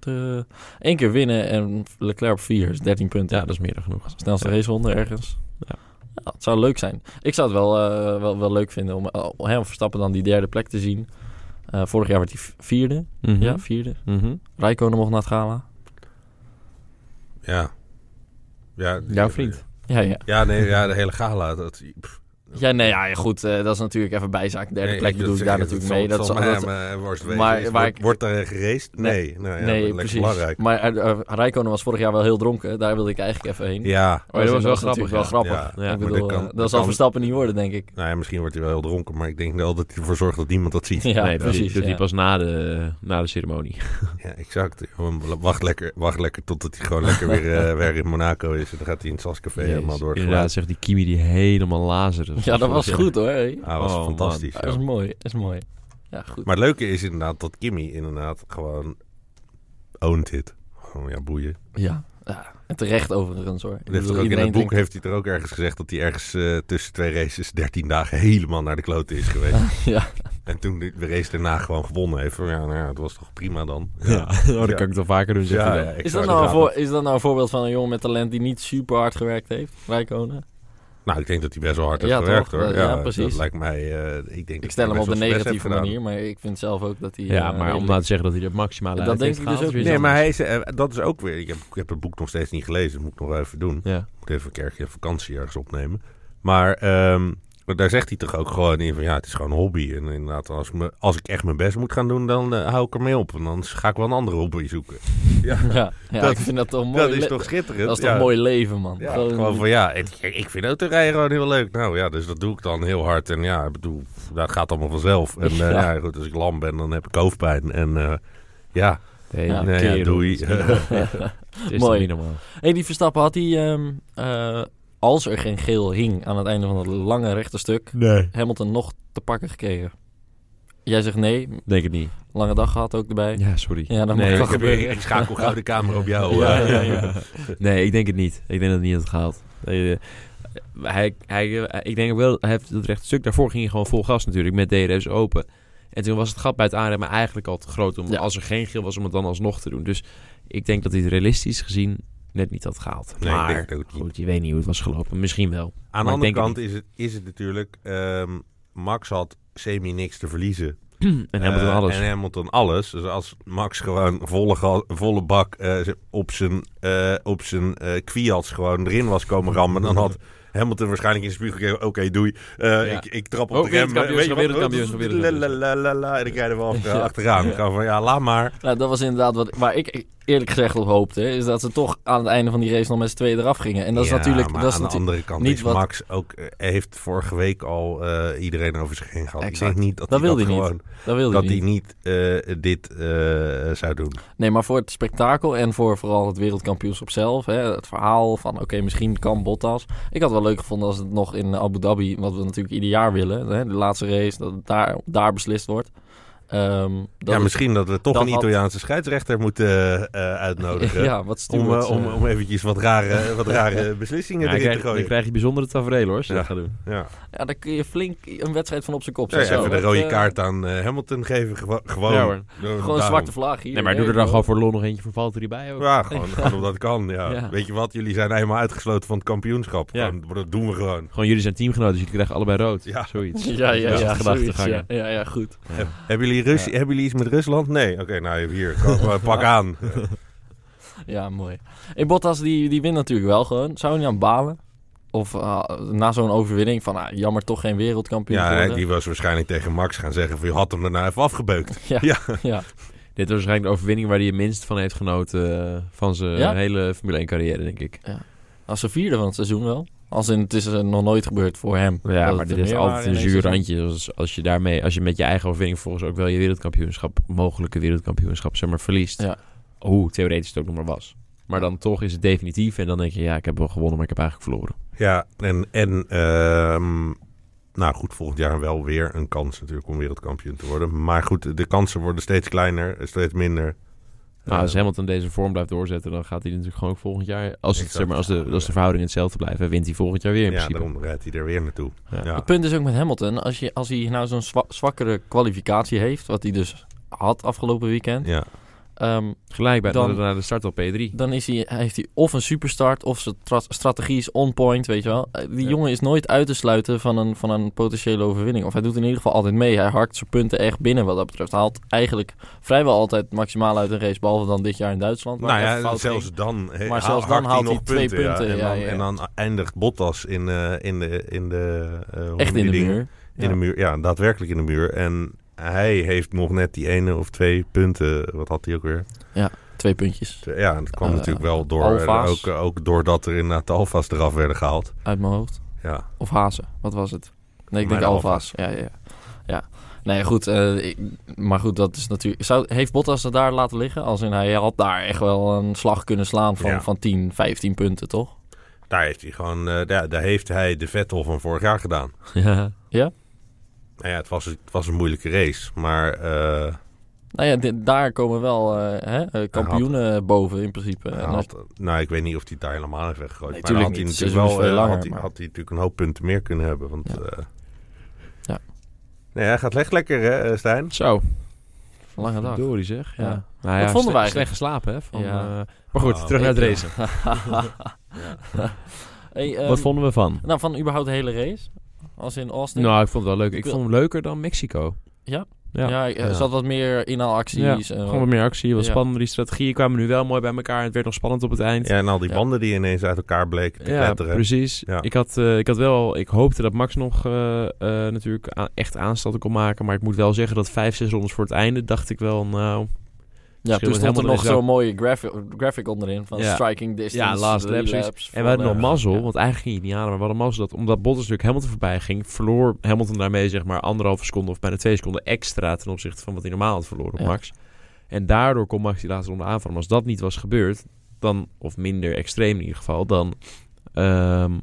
Eén keer winnen en Leclerc op vier is 13 punten.
Ja, dat is meer dan genoeg.
Snelste
Ja.
raceronde ergens.
Ja.
Ja, het zou leuk zijn. Ik zou het wel, eh, wel, wel leuk vinden om, eh, om hem Verstappen dan die derde plek te zien. Eh, vorig jaar werd hij v- vierde.
Mhm.
Ja, vierde.
Mhm.
Rijkonen mocht naar het gala.
Ja. ja
Jouw vriend.
Ja, ja.
Ja, nee, ja, de hele gala. Dat, pff,
Ja, nee, ja, ja, goed. eh, dat is natuurlijk even bijzaak. Derde
nee,
plek
ik-
bedoel
dat
ik daar
zeg-
natuurlijk
zal-
mee. Dat,
zal
zal-
mij
dat,
mijn worst
maar
wezen.
waar
Is-
ik-
wordt, wordt er geraced?
Nee.
Nee, nou ja,
nee,
dat lijkt
precies.
belangrijk.
Maar eh, eh, Rijkonen was vorig jaar wel heel dronken. Daar wilde ik eigenlijk even heen.
Ja,
Oh, dat was wel
natuurlijk
grappig,
Wel
ja.
grappig.
ja,
Ja,
ik
maar
bedoel,
dat
eh,
kan-
dat,
dat
zal
kan-
Verstappen niet worden, denk ik.
nou ja, misschien wordt hij wel heel dronken, maar ik denk wel dat hij ervoor zorgt dat niemand dat ziet.
Ja,
nee, dat
precies.
doet
ja.
hij pas na de, na de ceremonie.
Ja, exact. Gewoon Wacht lekker, wacht lekker totdat hij gewoon lekker weer, eh, weer in Monaco is. En dan gaat hij in het Sascafé
Jezus.
helemaal door.
Inderdaad, zegt die Kimi die helemaal lazer is.
Ja, dat was goed hoor. hé.
Ah, was
Oh, man.
fantastisch.
Dat is
ja.
mooi. Dat is mooi. Ja, goed.
Maar het leuke is inderdaad dat Kimmy inderdaad gewoon owned it. Gewoon, ja, boeien.
Ja. ja. En terecht overigens hoor. Ik
Hij
bedoel,
heeft er ook in
iedereen
het boek
denkt-
heeft hij er ook ergens gezegd dat hij ergens eh, tussen twee races 13 dagen helemaal naar de klote is geweest.
Ja.
en toen de de race daarna gewoon gewonnen heeft. Van, Ja, nou ja, het was toch prima dan.
Ja, oh, dat
Ja.
kan ik toch vaker doen, zeg je dan.
Is
exact.
dat, nou een
Ja.
voor, is dat nou een voorbeeld van een jongen met talent die niet super hard gewerkt heeft? Rijkonen?
Nou, ik denk dat hij best wel hard
Ja,
heeft
toch?
gewerkt hoor.
Ja,
Ja,
precies.
Dat lijkt mij. eh, ik, denk
Ik stel hem op een negatieve manier, maar ik vind zelf ook dat hij...
Ja,
eh,
maar om nou te zeggen dat hij het maximale
Dat
uit
denk
heeft
ik dus
gehaald,
ook
is
Nee,
weer
maar hij
iets
is, eh, dat is ook weer. Ik heb, ik heb het boek nog steeds niet gelezen. Dat moet ik nog wel even doen.
anders. Ja.
moet even een kerkje vakantie ergens opnemen. Maar ehm, daar zegt hij toch ook gewoon in van ja, het is gewoon een hobby. En inderdaad, als ik, me, als ik echt mijn best moet gaan doen, dan eh, hou ik ermee op. En dan ga ik wel een andere hobby zoeken. Ja,
Ja, ja
Dat-
ik vind dat toch mooi.
dat is
le-
toch schitterend?
dat is toch
ja.
mooi leven, man.
Ja,
Gewoon-
gewoon van ja, ik, ik vind autorijden gewoon heel leuk. Nou ja, dus dat doe ik dan heel hard. En ja, ik bedoel, dat gaat allemaal vanzelf. En eh,
Ja.
ja. goed, als ik lam ben, dan heb ik hoofdpijn. En eh, ja,
Nee,
Ja,
nee, ja, doei.
Het is
Mooi.
Mooi. niet normaal.
Hey, die Verstappen had hij, ehm, eh, als er geen geel hing aan het einde van dat lange rechte stuk,
Nee.
Hamilton nog te pakken gekregen. Jij zegt nee,
Denk het niet.
lange dag gehad ook erbij.
Ja, sorry.
Ja, dat
Nee,
mag
ik oh,
wel
ik, heb,
gebeuren.
ik schakel gauw de camera op jou.
Ja,
eh.
ja, ja.
Nee, ik denk het niet. Ik denk dat het niet had gehaald. Nee, eh, hij, hij, eh, ik denk ook wel, hij heeft het rechte stuk. Daarvoor ging hij gewoon vol gas natuurlijk, met DRS open. En toen was het gat bij het aanremmen eigenlijk al te groot om,
Ja.
als er geen geel was, om het dan alsnog te doen. Dus ik denk dat hij het realistisch gezien net niet had gehaald.
Nee, ik
maar
denk het ook niet.
goed, je weet niet hoe het was gelopen. Misschien wel.
Aan de
Maar ik
andere
denk het
kant is het, is het natuurlijk... ehm, Max had semi niks te verliezen.
En Hamilton
Eh,
alles.
En Hamilton alles. Dus als Max gewoon volle, ga- volle bak eh, op zijn, eh op zijn eh kwiats gewoon erin was komen rammen... dan had Hamilton waarschijnlijk in de spiegel gekeken... oké, doei, eh,
Ja.
ik, ik trap op
Oh,
Ook
de rem. eh,
wereldkampioenschap,
Weet je wat?
wereldkampioenschap,
Oh,
wereldkampioenschap.
Lalalala, En ik rijd er wel achter-
Ja.
eh, achteraan.
Ja.
Gewoon van, ja, laat maar.
Nou, dat was inderdaad wat, waar ik, ik- eerlijk gezegd op hoopte, is dat ze toch aan het einde van die race nog met z'n tweeën eraf gingen. En dat is
Ja,
natuurlijk...
maar
dat is
aan de
natuurlijk-
andere kant
niet
is
wat-
Max ook... eh, heeft vorige week al eh, iedereen over zich heen gehad. Ik
Exact.
denk niet dat,
Dat
hij
wil
dat
hij niet.
gewoon...
dat wilde
dat
ik
hij
niet.
niet eh, dit eh, zou doen.
Nee, maar voor het spektakel en voor vooral het wereldkampioenschap zelf. Hè, het verhaal van, oké, misschien kan Bottas. Ik had het wel leuk gevonden als het nog in Abu Dhabi, wat we natuurlijk ieder jaar willen. Hè, de laatste race, dat het daar, daar beslist wordt. Ehm, dat
ja,
het-
misschien dat we toch
dat
een
had-
Italiaanse scheidsrechter moeten eh, eh, uitnodigen.
Ja, wat
Om,
stuurt
eh, om, om eventjes wat rare, wat rare beslissingen
dan,
erin
krijg,
te gooien.
dan krijg je bijzondere tafereel hoor, als je
Ja.
dat gaat doen.
Ja.
Ja, daar kun je flink een wedstrijd van op zijn kop
Ja,
zetten.
even de
Zo,
rode
dat, eh,
kaart aan eh, Hamilton geven. gewo- gewoon.
Ja, hoor.
Door-
Gewoon een
daarom.
zwarte vlag hier.
Nee, maar doe er dan gewoon voor lol nog eentje voor Valtteri bij ook.
Ja, gewoon, gewoon omdat het kan. Ja.
Ja.
Weet je wat? Jullie zijn eenmaal uitgesloten van het kampioenschap.
Ja.
Gewoon, dat doen we gewoon.
Gewoon jullie zijn teamgenoten, dus jullie krijgen allebei rood.
Ja.
Zoiets.
Ja, ja,
Dat
ja.
is
Ja,
de gedachtegang,
ja. ja, ja, goed.
Ja.
Hebben, jullie Rus-
Ja.
hebben jullie iets met Rusland? Nee. Oké, nou hier. Kom, pak aan. Ja.
Ja, mooi. En Bottas, die, die wint natuurlijk wel gewoon. Zou je niet aan balen? Of ah, na zo'n overwinning van, ah, jammer, toch geen wereldkampioen
Ja,
geworden.
hij- die was waarschijnlijk tegen Max gaan zeggen van je had hem daarna even afgebeukt.
Ja,
Ja.
ja.
Dit was waarschijnlijk de overwinning waar hij het minst van heeft genoten eh, van zijn
Ja?
hele Formule 1 carrière, denk ik.
Als ze vierde van het seizoen wel. Als in, het is eh, nog nooit gebeurd voor hem. Dat
Ja,
het
maar
er
dit is
meer
altijd
waren in
een
één
zuur
seizoen.
randje. Dus als je daarmee, als je met je eigen overwinning volgens ook wel je wereldkampioenschap, mogelijke wereldkampioenschap, zeg maar, verliest.
Ja.
Hoe theoretisch het ook nog maar was. Maar dan toch is het definitief en dan denk je, ja, ik heb wel gewonnen, maar ik heb eigenlijk verloren.
Ja, en, en ehm, nou goed, volgend jaar wel weer een kans natuurlijk om wereldkampioen te worden. Maar goed, de kansen worden steeds kleiner, steeds minder.
Nou,
Maar Ah, als
Eh,
Hamilton deze vorm blijft doorzetten, dan gaat hij natuurlijk gewoon ook volgend jaar, als, het,
Exact.
zeg maar, als, de, als de verhoudingen hetzelfde blijven, wint hij volgend jaar weer in
ja,
principe.
daarom rijdt hij er weer naartoe.
Ja.
Ja.
Het punt is ook met Hamilton, als, je, als hij nou zo'n zwa- zwakkere kwalificatie heeft, wat hij dus had afgelopen weekend,
Ja.
ehm,
Gelijk bij
Dan-
naar de, naar de start op P3.
dan is hij, heeft hij of een superstart of zijn tra- strategie is on point, weet je wel. Eh, Die
Ja.
jongen is nooit uit te sluiten van een, van een potentiële overwinning. Of hij doet in ieder geval altijd mee. Hij harkt zijn punten echt binnen wat dat betreft. Hij haalt eigenlijk vrijwel altijd maximaal uit een race, behalve dan dit jaar in Duitsland. waar
Nou
hij even
ja,
fout
zelfs
ging.
dan, he,
Maar zelfs
hakt
dan haalt hij
nog
twee punten,
en,
ja,
dan,
ja, ja.
en dan eindigt Bottas in, eh, in de... In de eh, hoe
echt
noem je
in de
dingen?
muur.
In
Ja.
de muur, ja, daadwerkelijk in de muur. En hij heeft nog net die ene of twee punten, wat had hij ook weer?
Twee puntjes
Ja, en dat kwam
Eh,
natuurlijk wel door,
Alfa's.
ook, ook doordat er inderdaad de alfa's eraf werden gehaald.
uit mijn hoofd.
Ja,
Of hazen, wat was het? Nee, ik
Maar
denk
de
alfa's. Ja, ja, ja. ja. Nee, goed. eh, ik- maar goed, dat is natuurlijk... Zou, heeft Bottas het daar laten liggen? Als in, hij had daar echt wel een slag kunnen slaan van,
Ja.
van 10, 15 punten, toch?
daar heeft hij gewoon, eh, daar, daar heeft hij de Vettel van vorig jaar gedaan.
Ja.
Nou ja, het was, het was een moeilijke race, maar eh,
Nou ja, dit- daar komen wel eh, hè, eh, kampioenen boven in principe.
hij
En als-
had, nou, ik weet niet of hij het daar helemaal heeft weggegooid.
Nee,
maar dan had
tuurlijk
hij
niet.
natuurlijk
Het seizoen
wel,
is
eh,
veel langer,
had, hij,
maar-
had hij natuurlijk een hoop punten meer kunnen hebben. Want,
Ja.
eh,
Ja.
Nee, hij gaat echt lekker, hè, eh, Stijn?
Zo.
Lange dag.
Verdorie zeg. Ja.
Ja.
Nou
Wat vonden
sle-
wij
Slecht geslapen, hè? Van,
Ja.
eh, maar goed,
Oh,
terug naar het
ik-
racen.
Hey, ehm,
Wat vonden we van?
Nou, van überhaupt de hele race? Als in Austin?
Nou, ik vond het wel leuk. Ik
wil-
vond hem leuker dan Mexico.
ja,
ja.
er
Ja.
zat wat meer inhaalacties. eh,
Gewoon wat meer actie, wat
Ja.
spannender. Die strategieën kwamen nu wel mooi bij elkaar. Het werd nog spannend op het eind.
Ja, en al die
Ja.
banden die ineens uit elkaar bleken te
Ja,
kletteren.
precies.
Ja.
Ik, had, eh, ik had wel, ik hoopte dat Max nog eh, eh, natuurlijk a- echt aanstalten kon maken. Maar ik moet wel zeggen dat vijf, zes rondes voor het einde dacht ik wel, nou...
Ja, toen
Verschil met
stond er
Hamilton
nog
is wel-
zo'n mooie graphic, graphic onderin van
Ja.
striking distance,
Ja, last lap,
relapse,
zoiets. En
van,
we hadden nog
eh,
mazzel,
ja.
want eigenlijk ging je het niet aan. Maar we hadden mazzel dat omdat Bottas natuurlijk Hamilton voorbij ging... verloor Hamilton daarmee zeg maar anderhalve seconde of bijna twee seconden extra... ten opzichte van wat hij normaal had verloren op
Ja.
Max. En daardoor kon Max die laatste ronde aanvallen. Maar als dat niet was gebeurd, dan, of minder extreem in ieder geval... dan, ehm,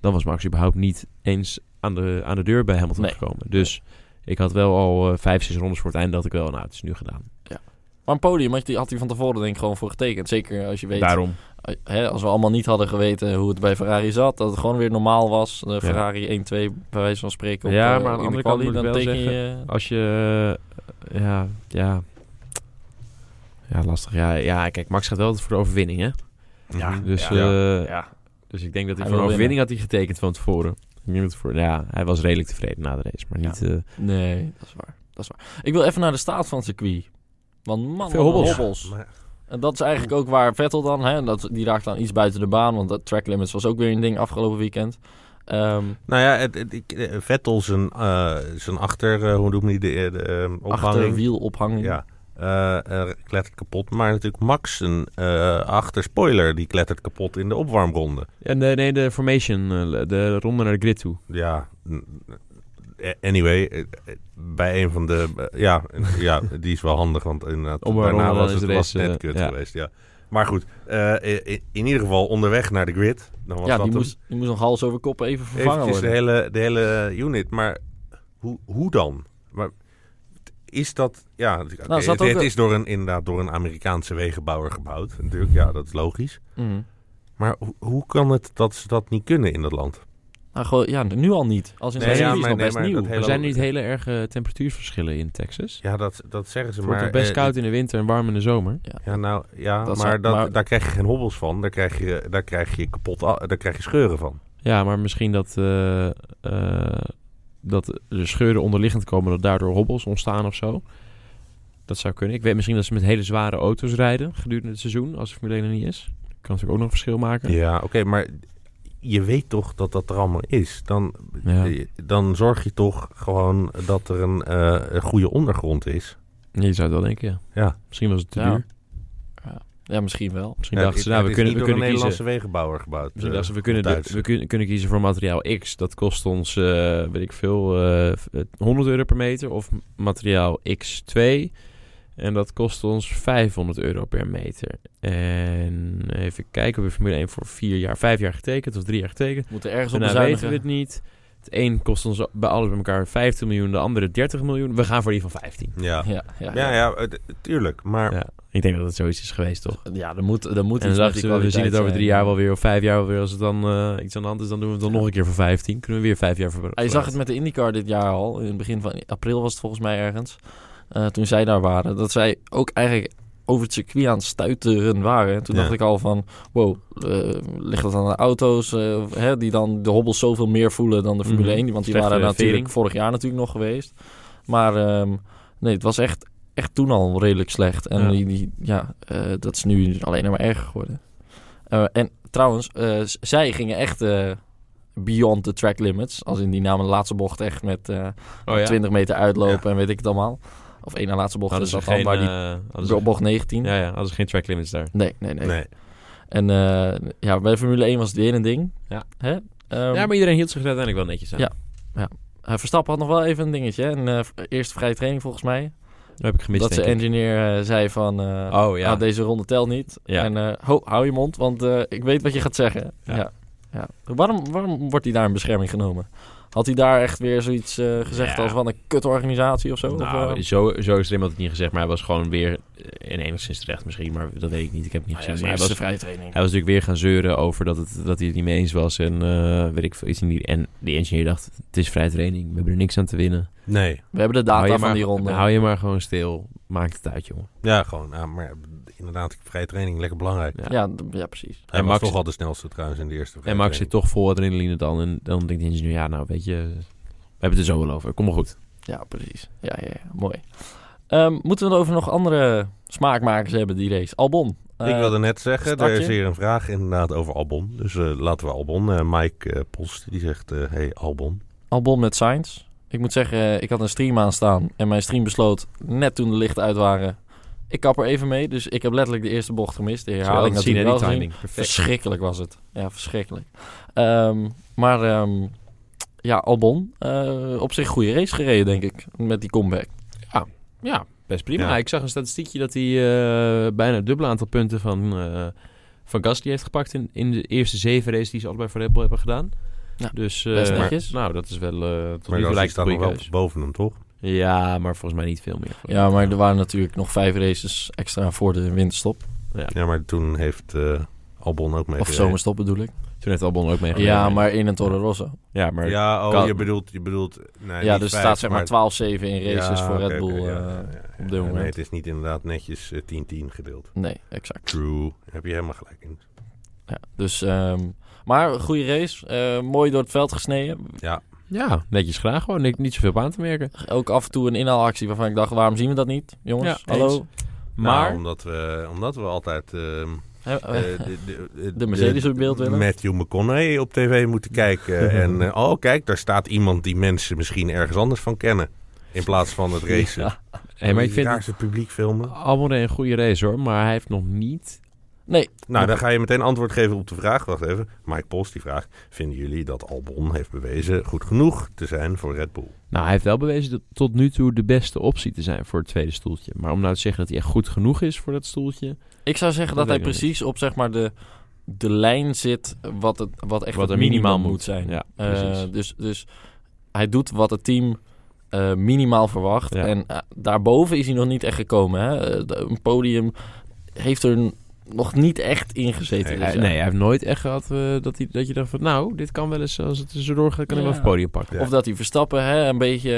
dan was Max überhaupt niet eens aan de, aan de deur bij Hamilton
Nee.
gekomen. Dus ik had wel al eh, vijf, zes rondes voor het einde... dat ik wel, nou, het is nu gedaan.
Maar een podium had hij, had hij van tevoren denk ik gewoon voor getekend. Zeker als je weet,
Daarom.
eh, hè, als we allemaal niet hadden geweten hoe het bij Ferrari zat, dat het gewoon weer normaal was. eh, Ferrari 1-2 bij wijze van spreken. op,
Ja,
eh,
maar aan de
in de
andere
quali,
kant moet ik
dan
wel
teken je...
Als je... eh, ja, ja... Ja, lastig. Ja, ja, kijk, Max gaat wel altijd voor de overwinning, hè?
Ja.
Dus,
Ja.
eh,
Ja,
dus ik denk dat hij, voor
Hij
een
wil
overwinning had hij getekend van tevoren. Ik denk dat voor, ja, hij was redelijk tevreden na de race, maar
Ja.
niet... eh,
nee, dat is waar. Dat is waar. Ik wil even naar de staat van het circuit. Want man,
Veel
wat een
hobbels.
hobbels.
Maar-
En dat is eigenlijk ook waar Vettel dan, hè, dat, die raakt dan iets buiten de baan, want dat track limits was ook weer een ding afgelopen weekend. Ehm,
Nou ja, het, het- ik, eh, Vettel zijn, eh, zijn achter, eh, hoe noemt hij de, de eh, ophanging?
achterwielophanging.
Ja, eh, eh, klettert kapot. Maar natuurlijk Max een eh achterspoiler, die klettert kapot in de opwarmronde.
En de, nee, de formation, eh, de ronde naar de grid toe.
Ja, n- eh, anyway, eh, eh, bij een van de... eh, ja, eh, ja, die is wel handig, want inderdaad,
Opwarmronde,
daarna was
dan is
het,
de
was
race,
net
eh,
kut
ja.
geweest, ja. Maar goed, eh, i- i- in ieder geval onderweg naar de grid. Dan was
ja,
dat
die
hem.
moest, die moest nog hals over kop even vervangen
Eventjes de
worden.
hele, de hele unit. Maar hoe, hoe dan? Maar is dat... Ja, oké,
zat
het,
ook
het
een-
is door een, inderdaad door een Amerikaanse wegenbouwer gebouwd. Natuurlijk, ja, dat is logisch.
Mhm.
Maar ho- hoe kan het dat ze dat niet kunnen in dat land?
Nou, gewoon, ja, nu al niet. Als in
Nee,
nee,
ja,
ja, is
maar-
nog
nee,
best
maar
nieuw.
dat hele-
Er zijn niet hele erge temperatuurverschillen in Texas.
Ja, dat, dat zeggen ze
Het
maar.
wordt toch best
eh,
koud in de winter en warm in de zomer.
Ja, nou, ja
Dat
maar,
zou-
dat,
maar-
daar krijg je geen hobbels van. Daar krijg je, daar krijg je kapot... a- Daar krijg je scheuren van.
Ja, maar misschien dat, eh, eh, dat er scheuren onderliggend komen... dat daardoor hobbels ontstaan of zo. Dat zou kunnen. Ik weet misschien dat ze met hele zware auto's rijden... gedurende het seizoen, als de Formule 1 er niet is. Dat kan natuurlijk ook nog verschil maken.
Ja, oké, maar... Je weet toch dat dat er allemaal is. Dan
Ja.
Eh, dan zorg je toch gewoon dat er een, eh, een goede ondergrond is.
Je zou het wel denken, ja.
Ja.
Misschien was het te
Ja.
duur.
Ja, misschien wel.
Misschien
Ja,
dachten ze,
het-
nou,
het
we kunnen,
is niet
we
door
kunnen kiezen...
een
Dus
Nederlandse wegenbouwer gebouwd.
Misschien
eh,
dachten ze, we kunnen,
Duits.
we kunnen, kunnen kiezen voor materiaal X. Dat kost ons, eh, weet ik veel, eh, v- eh, 100 euro per meter. Of materiaal X2. En dat kost ons 500 euro per meter. En even kijken, we hebben Formule 1 voor 4 jaar, 5 jaar getekend of 3 jaar getekend.
We moeten ergens op
Daarna weten
bezuinigen.
we het niet. Het een kost ons bij alles bij elkaar 15 miljoen, de andere 30 miljoen. We gaan voor die van 15.
Ja,
Ja, ja,
ja, ja, eh, tuurlijk. Maar
Ja. Ik denk dat het zoiets is geweest, toch?
Ja, er moet,
En
er moet
dan
iets met
dachten
die
we, we zien
kwaliteit
het over
zijn.
drie jaar wel weer, of vijf jaar wel weer. Als het dan eh, iets aan de hand is, dan doen we het dan nog een keer voor 15. Kunnen we weer vijf jaar voor.
Ah, Je zag het met de IndyCar dit jaar al. In het begin van april was het volgens mij ergens. eh, toen zij daar waren. Dat zij ook eigenlijk over het circuit aan het stuiteren waren. En toen
Ja.
dacht ik al van... Wow, eh, ligt dat aan de auto's? eh, of, hè, die dan de hobbels zoveel meer voelen dan de Formule
Mhm.
1. Want die
Slechte
waren natuurlijk
vering.
vorig jaar natuurlijk nog geweest. Maar ehm, nee, het was echt, echt toen al redelijk slecht. En
Ja.
Die, die, ja, eh, dat is nu alleen maar erger geworden. Eh, en trouwens, eh, z- zij gingen echt... eh, beyond the track limits. Als in die namen de laatste bocht echt met eh,
Oh ja. Nou,
20 meter uitlopen en weet ik het allemaal. Of één na laatste bocht
Hadden
is
ze
dat
geen,
dan, waar die
eh, hadden ze-
bocht 19.
ja, ja, hadden ze geen track limits daar.
Nee, nee, nee,
nee.
En eh, ja, bij Formule 1 was het weer een ding.
Ja.
Hè? Ehm,
ja, maar iedereen hield zich er uiteindelijk wel netjes aan.
Ja. eh, Verstappen had nog wel even een dingetje. hè. Een eh, v- eerste vrije training volgens mij.
Dat heb ik gemist,
dat zijn
denk ik.
engineer eh, zei van... eh,
Oh ja.
ah, deze ronde telt niet.
Ja.
En eh, ho, hou je mond, want eh, ik weet wat je gaat zeggen.
Ja.
Ja. Ja. Waarom, waarom wordt hij daar in bescherming genomen? Had hij daar echt weer zoiets eh, gezegd
Ja.
als van een kutorganisatie of zo?
Nou,
of, eh,
zo, zo extreem had het niet gezegd, maar hij was gewoon weer eh, in enigszins terecht misschien, maar dat weet ik niet. Ik heb het niet
nou ja,
gezien. maar
zijn
hij
eerste
was,
vrije training.
hij was natuurlijk weer gaan zeuren over dat, het, dat hij het niet mee eens was en eh, weet ik veel iets. in die- En die engineer dacht, het is vrij training, we hebben er niks aan te winnen.
Nee.
We hebben de data
Hou je
van
maar-
die ronde.
Hou je maar gewoon stil, maak het uit, jongen.
Ja, gewoon. ah, maar inderdaad, vrije training, lekker belangrijk.
Ja.
ja, d- ja, precies.
Hij
En
was
Max-
toch al de snelste trouwens in de eerste vrije
En Max zit
training.
toch vol adrenaline dan. En dan denkt de ingenieur, ja, nou weet je, we hebben het er zo wel over. Kom maar goed.
Ja, precies. Ja, ja, ja. mooi. Ehm, moeten we er over nog andere smaakmakers hebben die race? Albon. Eh,
Ik wilde net zeggen, er is
startje?
hier een vraag inderdaad over Albon. Dus eh, laten we Albon. eh, Mike eh, Post, die zegt, eh, hey Albon.
Albon met Sainz. Ik moet zeggen, eh, ik had een stream aanstaan en mijn stream besloot net toen de lichten uit waren. Ik kap er even mee, dus ik heb letterlijk de eerste bocht gemist. De herhaling
zien,
natuurlijk
hè,
wel
die
gezien.
timing. Perfect.
Verschrikkelijk was het. Ja, verschrikkelijk. Ehm, maar ehm, ja, Albon, eh, op zich goede race gereden, denk ik, met die comeback.
Ja, best prima.
Ja.
Ik zag een statistiekje dat hij eh, bijna het dubbele aantal punten van, eh van Gasly heeft gepakt... In, in de eerste zeven races die ze allebei voor Red Bull hebben gedaan.
Ja,
dus, eh,
best netjes.
Nou, dat is wel... eh tot nu
Maar
toe
die
lijkt het
staat
een
nog
goede
wel
keus.
boven hem, toch?
Ja, maar volgens mij niet veel meer.
Ja, maar er waren natuurlijk nog vijf races extra voor de winterstop.
Ja, maar toen heeft eh, Albon ook mee
Of zomerstop bedoel ik.
Toen heeft Albon ook meegedaan.
Ja, maar in een Toro Rosso.
Ja, maar...
Ja, oh,
Kan-
je bedoelt... Je bedoelt nee,
Ja,
niet
dus er
vijf,
staat zeg maar
maar
12-7 in races
Ja,
voor
oké,
Red Bull.
oké, ja,
eh,
ja, ja, ja.
op dit moment.
Nee, het is niet inderdaad netjes eh, 10-10 gedeeld.
Nee, exact.
True. Daar heb je helemaal gelijk in.
Ja, dus, ehm, maar goede race. eh, mooi door het veld gesneden.
Ja, netjes graag gewoon. Niet, niet zoveel op aan te merken.
Ook af en toe een inhaalactie waarvan ik dacht, waarom zien we dat niet? Jongens,
Ja,
hallo.
eens. Maar...
Nou, omdat, we, omdat we altijd ehm,
Hè,
eh,
eh,
de, de,
De Mercedes op beeld willen.
Matthew McConaughey op tv moeten kijken. en eh, oh, kijk, daar staat iemand die mensen misschien ergens anders van kennen. In plaats van het racen.
Ja.
Hey, maar ik
Die
vind
Iraakse publiek filmen.
Almere een goede race hoor, maar hij heeft nog niet...
Nee,
Nou, dan ga je meteen antwoord geven op de vraag. Wacht even. Mike Pols die vraagt: Vinden jullie dat Albon heeft bewezen goed genoeg te zijn voor Red Bull?
Nou, hij heeft wel bewezen dat tot nu toe de beste optie te zijn voor het tweede stoeltje. Maar om nou te zeggen dat hij echt goed genoeg is voor dat stoeltje...
ik zou zeggen dat,
Dat
hij
weet ik
precies op zeg maar de, de lijn zit wat, het, wat echt
Wat
het
er minimaal
minimum
moet.
moet zijn.
Ja,
Eh,
precies.
dus, dus hij doet wat het team eh, minimaal verwacht.
Ja.
En eh, daarboven is hij nog niet echt gekomen. Hè? Eh, de- een podium heeft er n- nog niet echt in gezeten.
Nee,
Dus
Hij-
ja.
nee, hij heeft nooit echt gehad eh, dat, hij, dat je dacht van... Nou, dit kan wel eens, als het tussendoor gaat, kan hij wel
Ja.
even het podium pakken.
Ja.
Of dat hij Verstappen hè, een beetje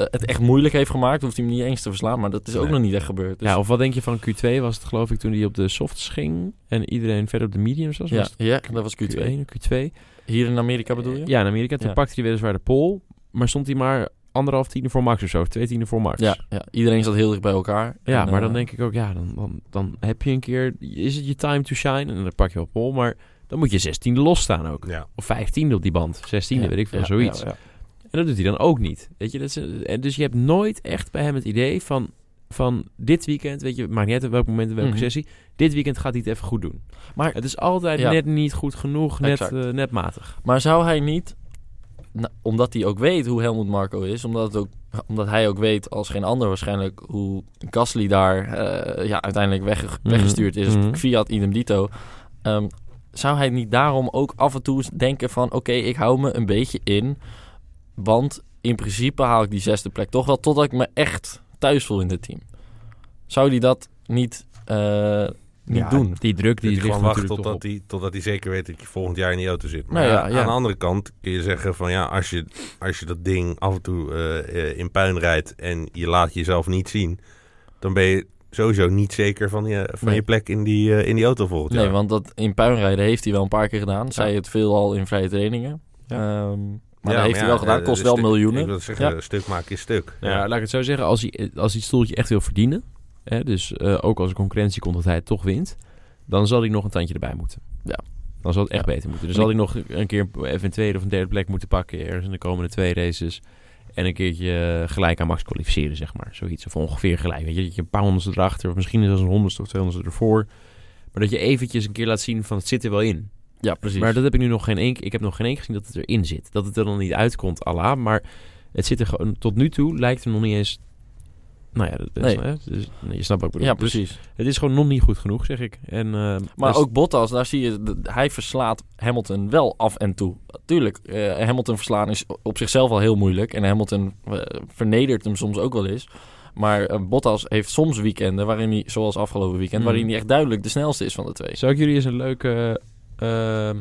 eh, het echt moeilijk heeft gemaakt. Hoeft hij hem niet eens te verslaan, maar dat is ook
Nee.
nog niet echt gebeurd. Dus-
Ja, of wat denk je van Q2 was het geloof ik toen hij op de softs ging en iedereen verder op de mediums was?
ja,
Was het
ja, dat was Q2.
Q1, Q2.
Hier in Amerika bedoel je?
Ja, in Amerika. Toen
Ja.
pakte hij weliswaar de pol, maar stond hij maar anderhalf tiende voor Max of zo, of twee tiende voor Max.
Ja, ja, iedereen zat heel dicht bij elkaar.
Ja,
En,
maar
eh,
dan denk ik ook, ja, dan, dan, dan heb je een keer, is het je time to shine en dan pak je op pol, maar dan moet je zestiende losstaan ook.
Ja.
Of vijftiende op die band, zestiende,
ja,
weet ik veel,
ja,
zoiets.
ja, ja.
En dat doet hij dan ook niet. Weet je, dat is, en dus je hebt nooit echt bij hem het idee van, van dit weekend, weet je, het maakt niet uit op welk moment, in welke
Mhm.
sessie, dit weekend gaat hij het even goed doen.
Maar-
het is altijd
ja.
net niet goed genoeg, net,
Exact.
eh, net matig.
Maar zou hij niet, nou, omdat hij ook weet hoe Helmut Marco is, omdat, het ook, omdat hij ook weet als geen ander waarschijnlijk hoe Gasly daar eh, ja, uiteindelijk wegge-
Mhm.
weggestuurd is,
Mhm.
Fiat idem dito, ehm, zou hij niet daarom ook af en toe eens denken van oké, ik hou me een beetje in, want in principe haal ik die zesde plek toch wel totdat ik me echt thuis voel in dit team. Zou hij dat niet, eh, niet
Ja,
doen?
Die druk
Die
die
gewoon
ligt
wacht
natuurlijk tot
totdat hij, totdat hij zeker weet dat je volgend jaar in die auto zit. Maar
Nou ja,
aan
ja.
de andere kant kun je zeggen van ja, als je, als je dat ding af en toe eh, eh, in puin rijdt en je laat jezelf niet zien, dan ben je sowieso niet zeker van je, van
Nee.
je plek in die, eh, in die auto volgend
Nee,
jaar.
want dat in puinrijden heeft hij wel een paar keer gedaan. Zij het veelal in vrije trainingen.
Ja.
Ehm, maar
Ja,
dat heeft
maar
hij
ja,
wel gedaan.
eh,
Kost
een
wel
stuk- Ik
miljoenen.
wil zeggen,
Ja.
een stuk maak je stuk.
Nou ja, laat ik het zo zeggen. Als hij, als hij het stoeltje echt wil verdienen, hè, dus eh, ook als er concurrentie komt dat hij het toch wint, dan zal hij nog een tandje erbij moeten.
Ja.
Dan zal het echt
Ja.
beter moeten. Dan zal hij nog een keer even een tweede of een derde plek moeten pakken ergens in de komende twee races. En een keertje eh, gelijk aan Max kwalificeren, zeg maar. Zoiets. Of ongeveer gelijk. Weet je, dat je een paar honderdste erachter, of misschien zelfs een honderdste of tweehonderdste ervoor. Maar dat je eventjes een keer laat zien van het zit er wel in.
Ja, precies.
Maar dat heb ik nu nog geen één Ik heb nog geen één keer gezien dat het erin zit. Dat het er nog niet uitkomt, Allah. Maar het zit er gewoon. Tot nu toe lijkt er nog niet eens. Nou ja, dat, dat is-
Nee.
hè, dus, nee, je snapt wat ik bedoel.
ja,
Dus
precies.
het is gewoon nog niet goed genoeg, zeg ik. En, eh,
Maar
dus-
ook Bottas, daar zie je, dat hij verslaat Hamilton wel af en toe. Tuurlijk, eh, Hamilton verslaan is op zichzelf al heel moeilijk. En Hamilton eh, vernedert hem soms ook wel eens. Maar eh, Bottas heeft soms weekenden, waarin hij, zoals afgelopen weekend,
Mm.
waarin hij echt duidelijk de snelste is van de twee.
Zou ik jullie eens een leuke. ehm,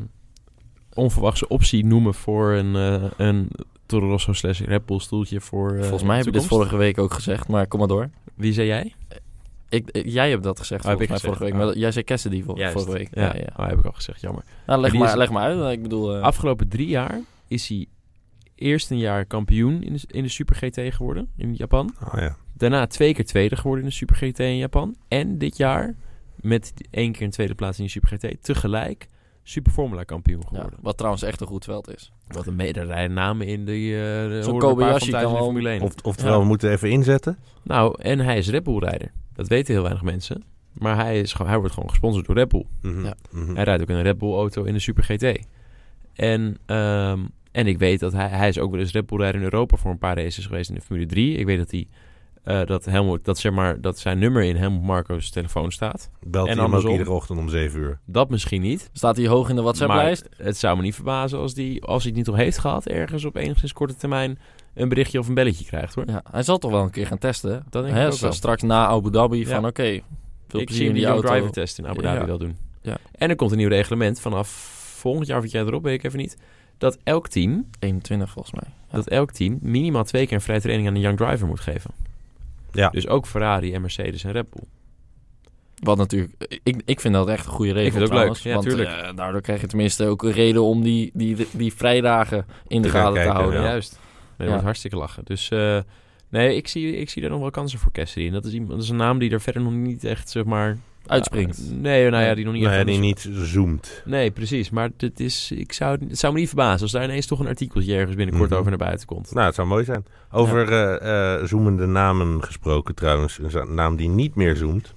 onverwachte optie noemen voor een. eh een Toro Rosso slash Red Bull stoeltje voor. eh,
Volgens mij heb ik dit
toekomst?
vorige week ook gezegd, maar kom maar door.
Wie zei jij?
Ik, ik- jij hebt dat gezegd
Oh, heb
volgens mij
ik gezegd?
vorige week.
Oh.
Maar dat- jij zei Cassidy vol, vorige week.
Ja,
Ja, ja.
Oh, heb ik al gezegd, jammer.
Nou,
Maar
leg,
die
maar,
is-
leg maar uit. Ik bedoel, eh,
Afgelopen drie jaar is hij eerst een jaar kampioen in de, in de Super GT geworden in Japan.
Oh, ja.
Daarna twee keer tweede geworden in de Super GT in Japan. En dit jaar met één keer een tweede plaats in de Super GT tegelijk Super Formula kampioen
ja,
geworden.
wat trouwens echt een goed veld is.
Wat een mede rijden namen in de, uh,
Zo'n Kobayashi kan wel-
Formule 1.
Of, oftewel, we moeten even inzetten.
Nou, en hij is Red Bull rijder. Dat weten heel weinig mensen. Maar hij, is, gewoon- hij wordt gewoon gesponsord door Red Bull.
Mhm,
Ja.
mhm.
Hij rijdt ook in een Red Bull auto in de Super GT. En, ehm, en ik weet dat hij, hij is ook wel eens Red Bull rijder in Europa voor een paar races geweest in de Formule 3. Ik weet dat hij eh, dat Helmut, dat zeg maar, dat zijn nummer in Helmut Marco's telefoon staat.
Belt
En
hij hem ook
andersom.
iedere ochtend om 7 uur.
Dat misschien niet.
Staat hij hoog in de
Maar
WhatsApp-lijst?
het zou me niet verbazen als, die, als hij het niet al heeft gehad, ergens op enigszins korte termijn een berichtje of een belletje krijgt hoor.
Ja, hij zal toch wel een keer gaan testen.
Dat denk
Hè,
ik ook
st-
wel.
Straks na Abu Dhabi
Ja.
van oké, veel
ik
plezier
zie
in
hem
die
die
auto.
driver test in Abu Dhabi
Ja.
wel doen.
Ja.
En er komt een nieuw reglement vanaf volgend jaar of het jaar erop, weet ik even niet. Dat elk team
21 volgens mij. Ja.
dat elk team minimaal twee keer een vrije training aan een young driver moet geven.
Ja.
Dus ook Ferrari en Mercedes en Red Bull.
Wat natuurlijk, eh, ik, ik vind dat echt een goede regel
vind het ook
trouwens,
leuk. Ja,
want
tuurlijk.
eh, daardoor krijg je tenminste ook een reden om die, die, die vrijdagen in de
Te gaan
gaten te
kijken,
houden.
Oh, ja.
Juist. Nee, dat
Ja.
wordt hartstikke lachen. Dus eh, nee, ik zie, ik zie daar nog wel kansen voor Cassidy. En dat is, iemand, dat is een naam die er verder nog niet echt, zeg maar...
Uitspringt.
Ah, nee, nou ja, die nog niet.
Nou
echt
ja, die
anders-
niet zoomt.
Nee, precies. Maar dit is, ik zou, het zou me niet verbazen als daar ineens toch een artikeltje ergens binnenkort
Mhm.
over naar buiten komt.
Nou, het zou mooi zijn. Over eh, eh, zoemende namen gesproken trouwens. Een za- naam die niet meer zoomt.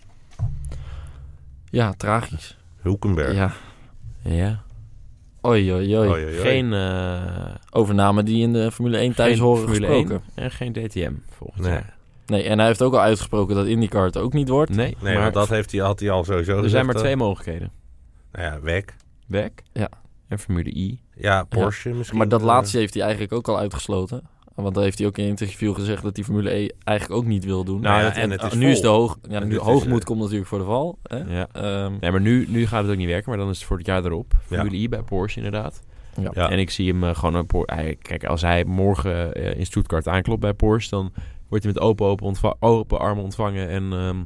Ja, tragisch.
Hulkenberg.
Ja.
Ja.
Oei, oei, oei.
Oei, oei, oei.
Geen, eh
Over namen die in de Formule 1 thuis
geen
horen
Formule
gesproken.
1 en geen DTM volgend
Nee.
jaar.
Nee, en hij heeft ook al uitgesproken dat IndyCar het ook niet wordt.
Nee,
Nee,
maar
want dat heeft hij, had hij al sowieso
er
gezegd,
zijn maar
hè?
twee mogelijkheden.
Nou ja, weg.
WEC
Ja.
en Formule I.
Ja, Porsche misschien.
Maar dat
Eh,
laatste heeft hij eigenlijk ook al uitgesloten. Want daar heeft hij ook in een interview gezegd dat hij Formule 1 eigenlijk ook niet wil doen.
Nou ja,
dat-
en het is
nu
vol.
is de hoog, ja,
En
nu
dit is,
hoogmoed
eh,
komt natuurlijk voor de val. Hè?
Ja.
Ehm,
Nee, maar nu, nu gaat het ook niet werken, maar dan is het voor het jaar erop. Formule I bij Porsche inderdaad.
Nou
Ja.
En ik zie hem eh, gewoon... Een Por- hij- kijk, als hij morgen eh, in Stuttgart aanklopt bij Porsche... dan wordt hij met open, open, ontva- open armen ontvangen en... ehm,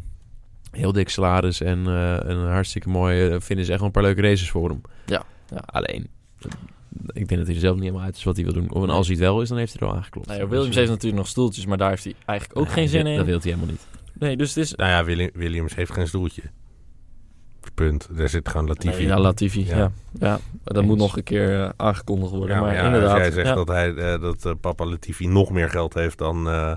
Heel dik salaris en eh, een hartstikke mooie... eh, vinden ze echt wel een paar leuke races voor hem.
Ja, ja.
Alleen, eh, ik denk dat hij er zelf niet helemaal uit is wat hij wil doen. Of en als hij het wel is, dan heeft hij er al aangeklopt.
nou ja, Williams heeft natuurlijk nog stoeltjes, maar daar heeft hij eigenlijk ook
eh, Nee,
geen zin
dat-
in.
Dat wil hij helemaal niet.
Nee, dus het is...
Nou ja, Willi- Williams heeft geen stoeltje. Punt. Daar zit gewoon Latifi.
Nee, ja, Latifi,
Ja.
ja. ja. dat
Eens.
moet nog een keer eh, aangekondigd worden.
Ja,
maar
maar ja,
inderdaad,
als jij zegt
ja,
dat, hij, eh, dat eh, papa Latifi nog meer geld heeft dan, eh,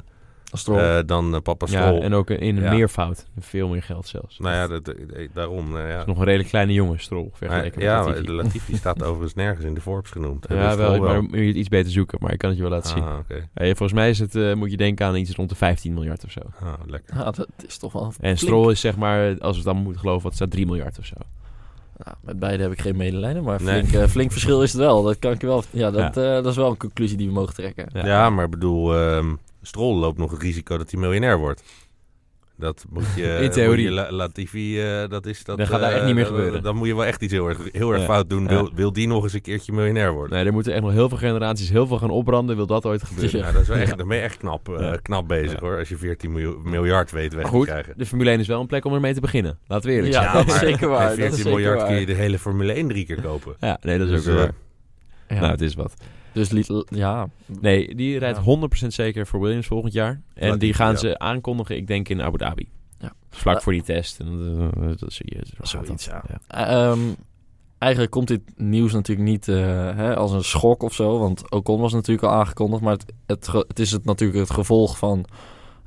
Stroll.
eh, dan eh, papa Stroll.
Ja, en ook in een
Ja.
meervoud. Veel meer geld zelfs.
Nou ja, dat, eh, daarom. nou ja.
is nog een redelijk kleine jongen, Strol, vergeleken
Maar- ja,
met
maar
Latifi.
Latifi staat overigens nergens in de Forbes genoemd. hè,
Ja,
dus
wel,
toch
maar moet je het iets beter zoeken, maar ik kan het je wel laten zien.
Ah, oké.
Eh, volgens mij is het, eh, moet je denken aan iets rond de 15 miljard of zo.
Ah, lekker.
Ja, dat is toch wel...
En Strol is zeg maar, als we het dan moeten geloven, wat staat 3 miljard of zo.
Ja, Nou, met beide heb ik geen medelijden, maar
Nee.
flink, eh, flink verschil is het wel. Dat kan ik je wel... Ja, dat, eh, dat is wel een conclusie die we mogen trekken.
Ja.
Ja, maar ik bedoel, ehm Stroll loopt nog het risico dat hij miljonair wordt. Dat moet je...
In
moet
theorie.
je La- Latifi, eh, dat is dat...
Dat gaat daar
eh,
echt niet meer
dat-
gebeuren.
Dan moet je wel echt iets heel erg, heel erg
Ja.
fout doen. Wil,
Ja.
wil die nog eens een keertje miljonair worden?
Nee, er moeten echt nog heel veel generaties heel veel gaan opbranden, wil dat ooit gebeuren.
Ja.
Nou, dat is wel echt, dan ben je echt knap, eh,
Ja.
knap bezig
Ja.
hoor. Als je 14 miljo- miljard weet weg
Maar
te
goed,
krijgen.
de Formule 1 is wel een plek om ermee te beginnen. Laten we eerlijk
Ja,
zijn.
dat is zeker waar, dat
Met
is
14
zeker
miljard kun je
waar.
de hele Formule 1 drie keer kopen.
Ja, nee, dat is
Dus,
ook weer
eh,
waar.
Ja.
Nou, het is wat.
Dus liet, ja,
Nee, die rijdt
Ja.
100% zeker voor Williams volgend jaar. En
Latifi,
die gaan
ja.
ze aankondigen, ik denk in Abu Dhabi.
Ja.
Vlak
Eh,
voor die test. En, eh, dat zie je. dat-
Zoiets, ja.
ja.
eh, ehm, eigenlijk komt dit nieuws natuurlijk niet eh, hè, als een schok of zo. Want Ocon was natuurlijk al aangekondigd. Maar het, het, ge- het is het, natuurlijk het gevolg van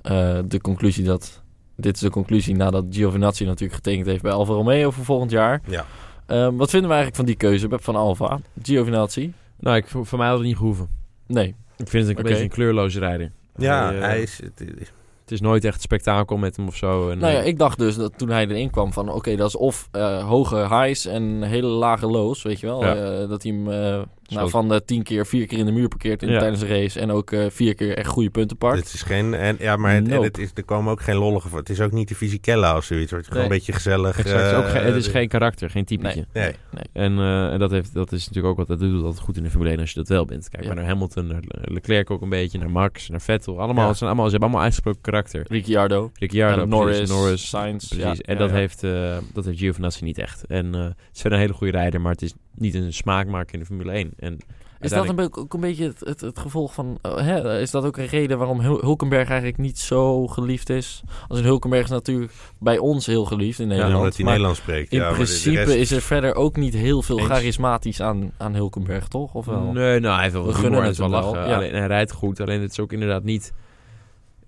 eh, de conclusie dat... Dit is de conclusie nadat Giovinazzi natuurlijk getekend heeft bij Alfa Romeo voor volgend jaar.
Ja.
Ehm, wat vinden we eigenlijk van die keuze van Alfa? Giovinazzi?
Nou, ik, voor, voor mij had het niet gehoeven.
Nee.
Ik vind het een
Oké.
beetje een kleurloze rijder.
Ja,
Hij, eh,
hij is... het- het-
Het is nooit echt spektakel met hem of zo. En,
Nou ja,
eh,
ik dacht dus dat toen hij erin kwam van... oké, dat is of eh, hoge highs en hele lage lows, weet je wel.
Ja.
Eh, dat hij hem eh, nou,
ook-
van de tien keer vier keer in de muur parkeert in,
Ja.
tijdens de race... en ook eh, vier keer echt goede punten pakt.
Dit is geen, en, ja, maar het, en
Nope.
het is, er komen ook geen lollige voor. Het is ook niet de Fisichella of zoiets. Het is gewoon
Nee.
een beetje gezellig.
exact, het, is ook
eh,
geen- het is geen karakter, geen typetje.
Nee,
Nee.
nee, nee.
En, eh, en dat, heeft, dat is natuurlijk ook wat dat doet altijd goed in de Formule 1 als je dat wel bent. Kijk
Ja.
maar naar Hamilton, naar Le- Leclerc ook een beetje, naar Max, naar Vettel. Allemaal,
Ja.
het zijn allemaal, ze hebben allemaal uitgesproken karakter.
Ricciardo,
Ricciardo,
en
precies,
Norris,
Norris,
Sainz.
Precies,
ja,
en
ja,
dat,
ja.
Heeft, eh dat heeft Giovinazzi niet echt. En eh het is verder een hele goede rijder, maar het is niet een smaakmaker in de Formule 1. En
Is dat een be- ook een beetje het, het, het gevolg van... eh, hè, is dat ook een reden waarom Hul- Hulkenberg eigenlijk niet zo geliefd is? Als in Hulkenberg is natuurlijk bij ons heel geliefd in
Ja,
Nederland.
omdat hij
maar-
Nederlands spreekt.
In
ja, maar de- de
principe
rest-
is er verder ook niet heel veel
Eens.
charismatisch aan, aan Hulkenberg, toch? Of wel?
Nee, nou, hij heeft wel
We
wat
gunnen
humor,
het
het wel
hem wel,
lachen.
ja.
Alleen, hij rijdt goed, alleen het is ook inderdaad niet...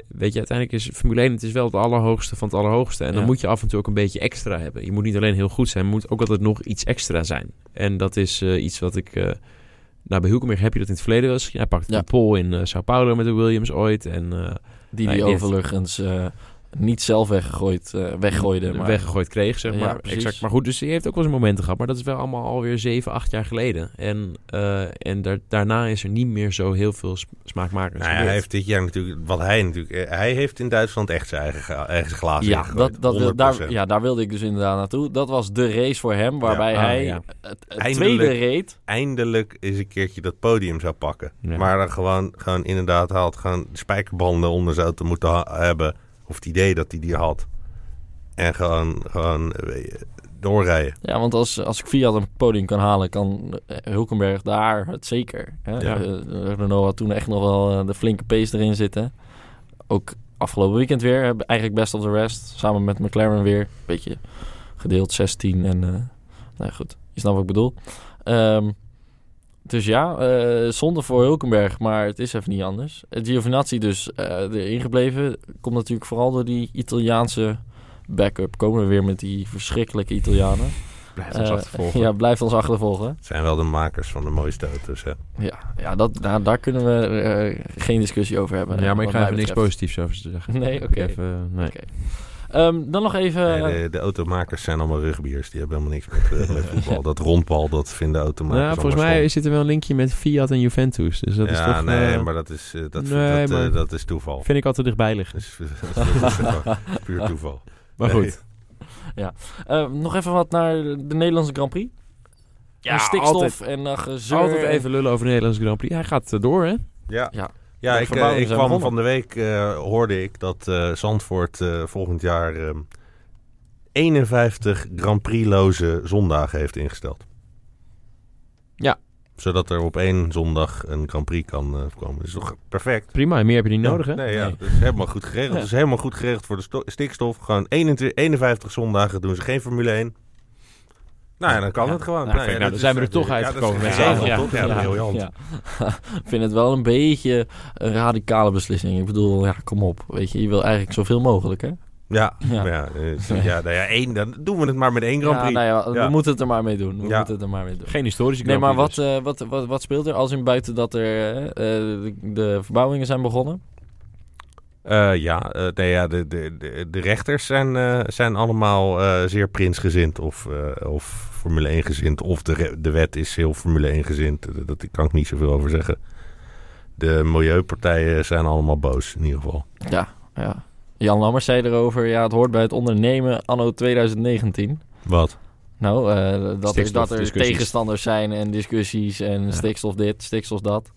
Weet je, uiteindelijk is Formule 1 het is wel het allerhoogste van het allerhoogste. En dan
Ja.
moet je af en toe ook een beetje extra hebben. Je moet niet alleen heel goed zijn, je moet ook altijd nog iets extra zijn. En dat is eh, iets wat ik... eh nou, bij Hulkenberg heb je dat in het verleden wel eens gezien. Hij pakte
Ja.
de pole in eh, Sao Paulo met de Williams ooit. En eh,
Die
Nee,
die
dit-
overigens eh, niet zelf weggegooid, eh, weggooide. Maar,
weggegooid kreeg, zeg
Ja,
maar.
precies.
exact. Maar goed, dus hij heeft ook wel eens momenten gehad. Maar dat is wel allemaal alweer zeven, acht jaar geleden. En, eh, en daar- daarna is er niet meer zo heel veel sm- smaakmakers
Nou ja, hij
gebeurd.
heeft dit jaar natuurlijk... Wat hij natuurlijk... eh, Hij heeft in Duitsland echt zijn eigen, ga- eigen glazen
ja,
ingegooid.
dat, dat wil- daar,
100%.
ja, daar wilde ik dus inderdaad naartoe. Dat was de race voor hem, waarbij
Ah,
hij
ja.
het, het
Eindelijk.
tweede reed.
Eindelijk is een keertje dat podium zou pakken.
Ja.
Maar dan gewoon, gewoon inderdaad haalt gewoon spijkerbanden onder zou te moeten ha- hebben. Of het idee dat hij die had. En gewoon, gewoon eh, weet je, doorrijden.
Ja, want als, als ik Fiat een podium kan halen, kan eh, Hulkenberg daar het zeker. Hè?
Ja.
Eh, Renault had toen echt nog wel eh, de flinke pees erin zitten. Ook afgelopen weekend weer. eh, Eigenlijk best of the rest. Samen met McLaren weer. Beetje gedeeld 16 en... eh nou ja, goed, je snapt wat ik bedoel. Ehm, dus ja, eh, zonde voor Hulkenberg, maar het is even niet anders. Eh, Giovinazzi dus eh, erin gebleven. Komt natuurlijk vooral door die Italiaanse backup. Komen we weer met die verschrikkelijke Italianen.
Blijf ons
Eh,
achtervolgen.
Ja, blijf ons achtervolgen.
Het zijn wel de makers van de mooiste auto's. Hè?
Ja, ja dat, nou, daar, daar kunnen we eh, geen discussie over hebben.
ja, maar ik
wat
ga
mij
even niks
betreft.
positiefs over zeggen.
Nee,
Ik
oké.
even- nee.
Oké. Ehm, dan nog even...
Nee, de, de automakers zijn allemaal rugbiers. Die hebben helemaal niks met, eh, met voetbal. Dat rondbal, dat vinden automakers
Nou, volgens
allemaal
mij
stom.
zit er wel een linkje met Fiat en Juventus. Dus dat is
ja,
toch,
nee,
eh,
maar dat is, eh, dat,
nee,
dat, eh,
maar-
dat is toeval.
vind ik altijd dichtbij liggen.
Dat is, dat is- dat is gewoon puur toeval.
Maar
Nee.
goed.
ehm, nog even wat naar de Nederlandse Grand Prix. En stikstof en uh, gezeur.
Altijd
en-
even lullen over de Nederlandse Grand Prix. Hij gaat eh, door, hè?
Ja,
Ja.
ja.
De
ik, eh,
verbouwingen
ik
zijn
kwam
begonnen.
van de week, eh, hoorde ik dat eh, Zandvoort eh, volgend jaar eh, 51 Grand Prix-loze zondagen heeft ingesteld.
Ja.
Zodat er op één zondag een Grand Prix kan eh, komen. Dat is toch perfect?
Prima, en meer heb je niet nodig, hè?
Ja, Nee, ja,
Nee.
dat is helemaal goed geregeld.
Ja.
Dat is helemaal goed geregeld voor de sto- stikstof. Gewoon 21, 51 zondagen doen ze geen Formule 1. Nou ja, dan kan
Ja.
het gewoon.
Nou,
ja,
nou,
dat
dan
is
zijn we er
natuurlijk-
toch uitgekomen
Ja,
met
dat
z'n
is
allen.
geniaal,
Ja.
toch? Ja,
Ja.
briljant.
Ja. Ik vind het wel een beetje een radicale beslissing. Ik bedoel, ja, kom op. Weet je, je wil eigenlijk zoveel mogelijk, hè?
Ja,
Ja.
ja. ja, eh, ja, nou ja één, dan doen we het maar met één Grand Prix.
Ja, nou ja,
Ja.
we moeten het er maar mee doen. We
Ja.
moeten het er maar mee doen.
Geen historische
Nee,
Grand
maar
Prix
wat,
dus.
eh, wat, wat, wat speelt er als in buiten dat er eh, eh, de, de verbouwingen zijn begonnen?
Eh, ja, eh, nee, ja de, de, de, de rechters zijn, eh, zijn allemaal eh, zeer prinsgezind of, eh, of Formule 1 gezind. Of de, re- de wet is heel Formule 1 gezind. Eh, Dat, daar kan ik niet zoveel over zeggen. De milieupartijen zijn allemaal boos in ieder geval.
Ja, ja. Jan Lammers zei erover, ja, het hoort bij het ondernemen anno 2019.
Wat?
Nou, eh, dat, er, dat er
Stikstofdiscussies.
tegenstanders zijn en discussies en
Ja.
stikstof dit, stikstof dat.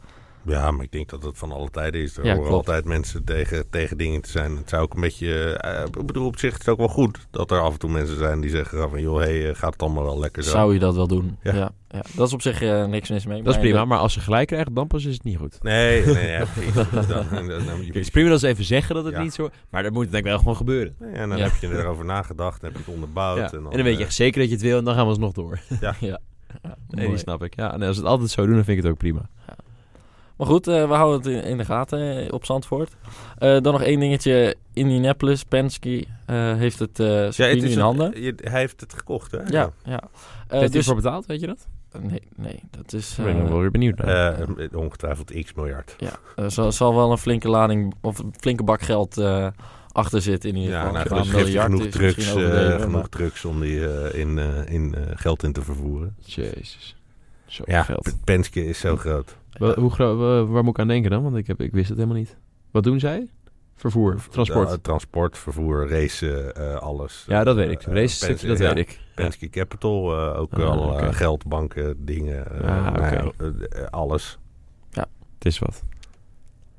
Ja, maar ik denk dat dat van alle tijden is. Er
Ja,
horen
klopt.
altijd mensen tegen, tegen dingen te zijn. Het zou ook een beetje... eh, ik bedoel, op zich is het ook wel goed dat er af en toe mensen zijn die zeggen van... joh, hey, eh, gaat het allemaal wel lekker zo.
Zou je dat wel doen? Ja.
Ja.
ja, Dat is op zich eh, niks mis mee.
is. dus. Dat is
maar-
prima, maar als ze gelijk krijgen, dan pas is het niet goed.
Nee, nee, ja, precies. Dan- dan- dan-
Het is prima dat ze even zeggen dat het
Ja.
niet zo... Maar dat moet denk ik wel gewoon gebeuren.
Nee, En dan
Ja.
heb je erover nagedacht, dan heb je het onderbouwd.
Ja.
En dan,
weet je
eh,
echt zeker dat je het wil en dan gaan we alsnog door.
eh, Ja,
Nee, nou-
mooi. Eh,
die snap ik. Ja, en als ze het altijd zo doen, dan vind ik het ook prima.
Maar goed, eh, we houden het in, in de gaten eh, op Zandvoort. Eh, dan nog één dingetje. Indianapolis, Penske eh, heeft het eh circuit
Dus ja, het
nu
is
in
een-
handen.
je- hij heeft het gekocht, hè?
Ja, ja. Eh,
Heeft hij
dus,
voor betaald, weet je dat?
nee, nee, dat is...
Ik ben ik
eh,
wel weer benieuwd naar.
Eh, eh, ongetwijfeld x miljard.
ja, er Eh, zal, zal wel een flinke lading of een flinke bak geld eh, achter zitten in ieder
Ja,
geval.
nou,
Qua
gelukkig heeft hij
miljard
genoeg
is
drugs,
misschien
eh,
overdreven, maar-
genoeg drugs om die eh, in, eh, in eh, geld in te vervoeren.
Jezus. Zo
Ja,
geld.
P- Penske is zo groot.
Wa- Hoe, gro- wa- waar moet ik aan denken dan? Want ik, heb, ik wist het helemaal niet. Wat doen zij? Vervoer, transport.
Ja, transport, vervoer, eh, racen, eh, alles.
ja, dat weet ik.
Eh,
Race
Penske,
dat
ja.
weet ik.
Penske Capital, eh, ook
Ah,
wel eh,
oké.
geld, banken, dingen, eh,
Ah,
nou ja,
oké.
eh, eh, alles.
Het is wat.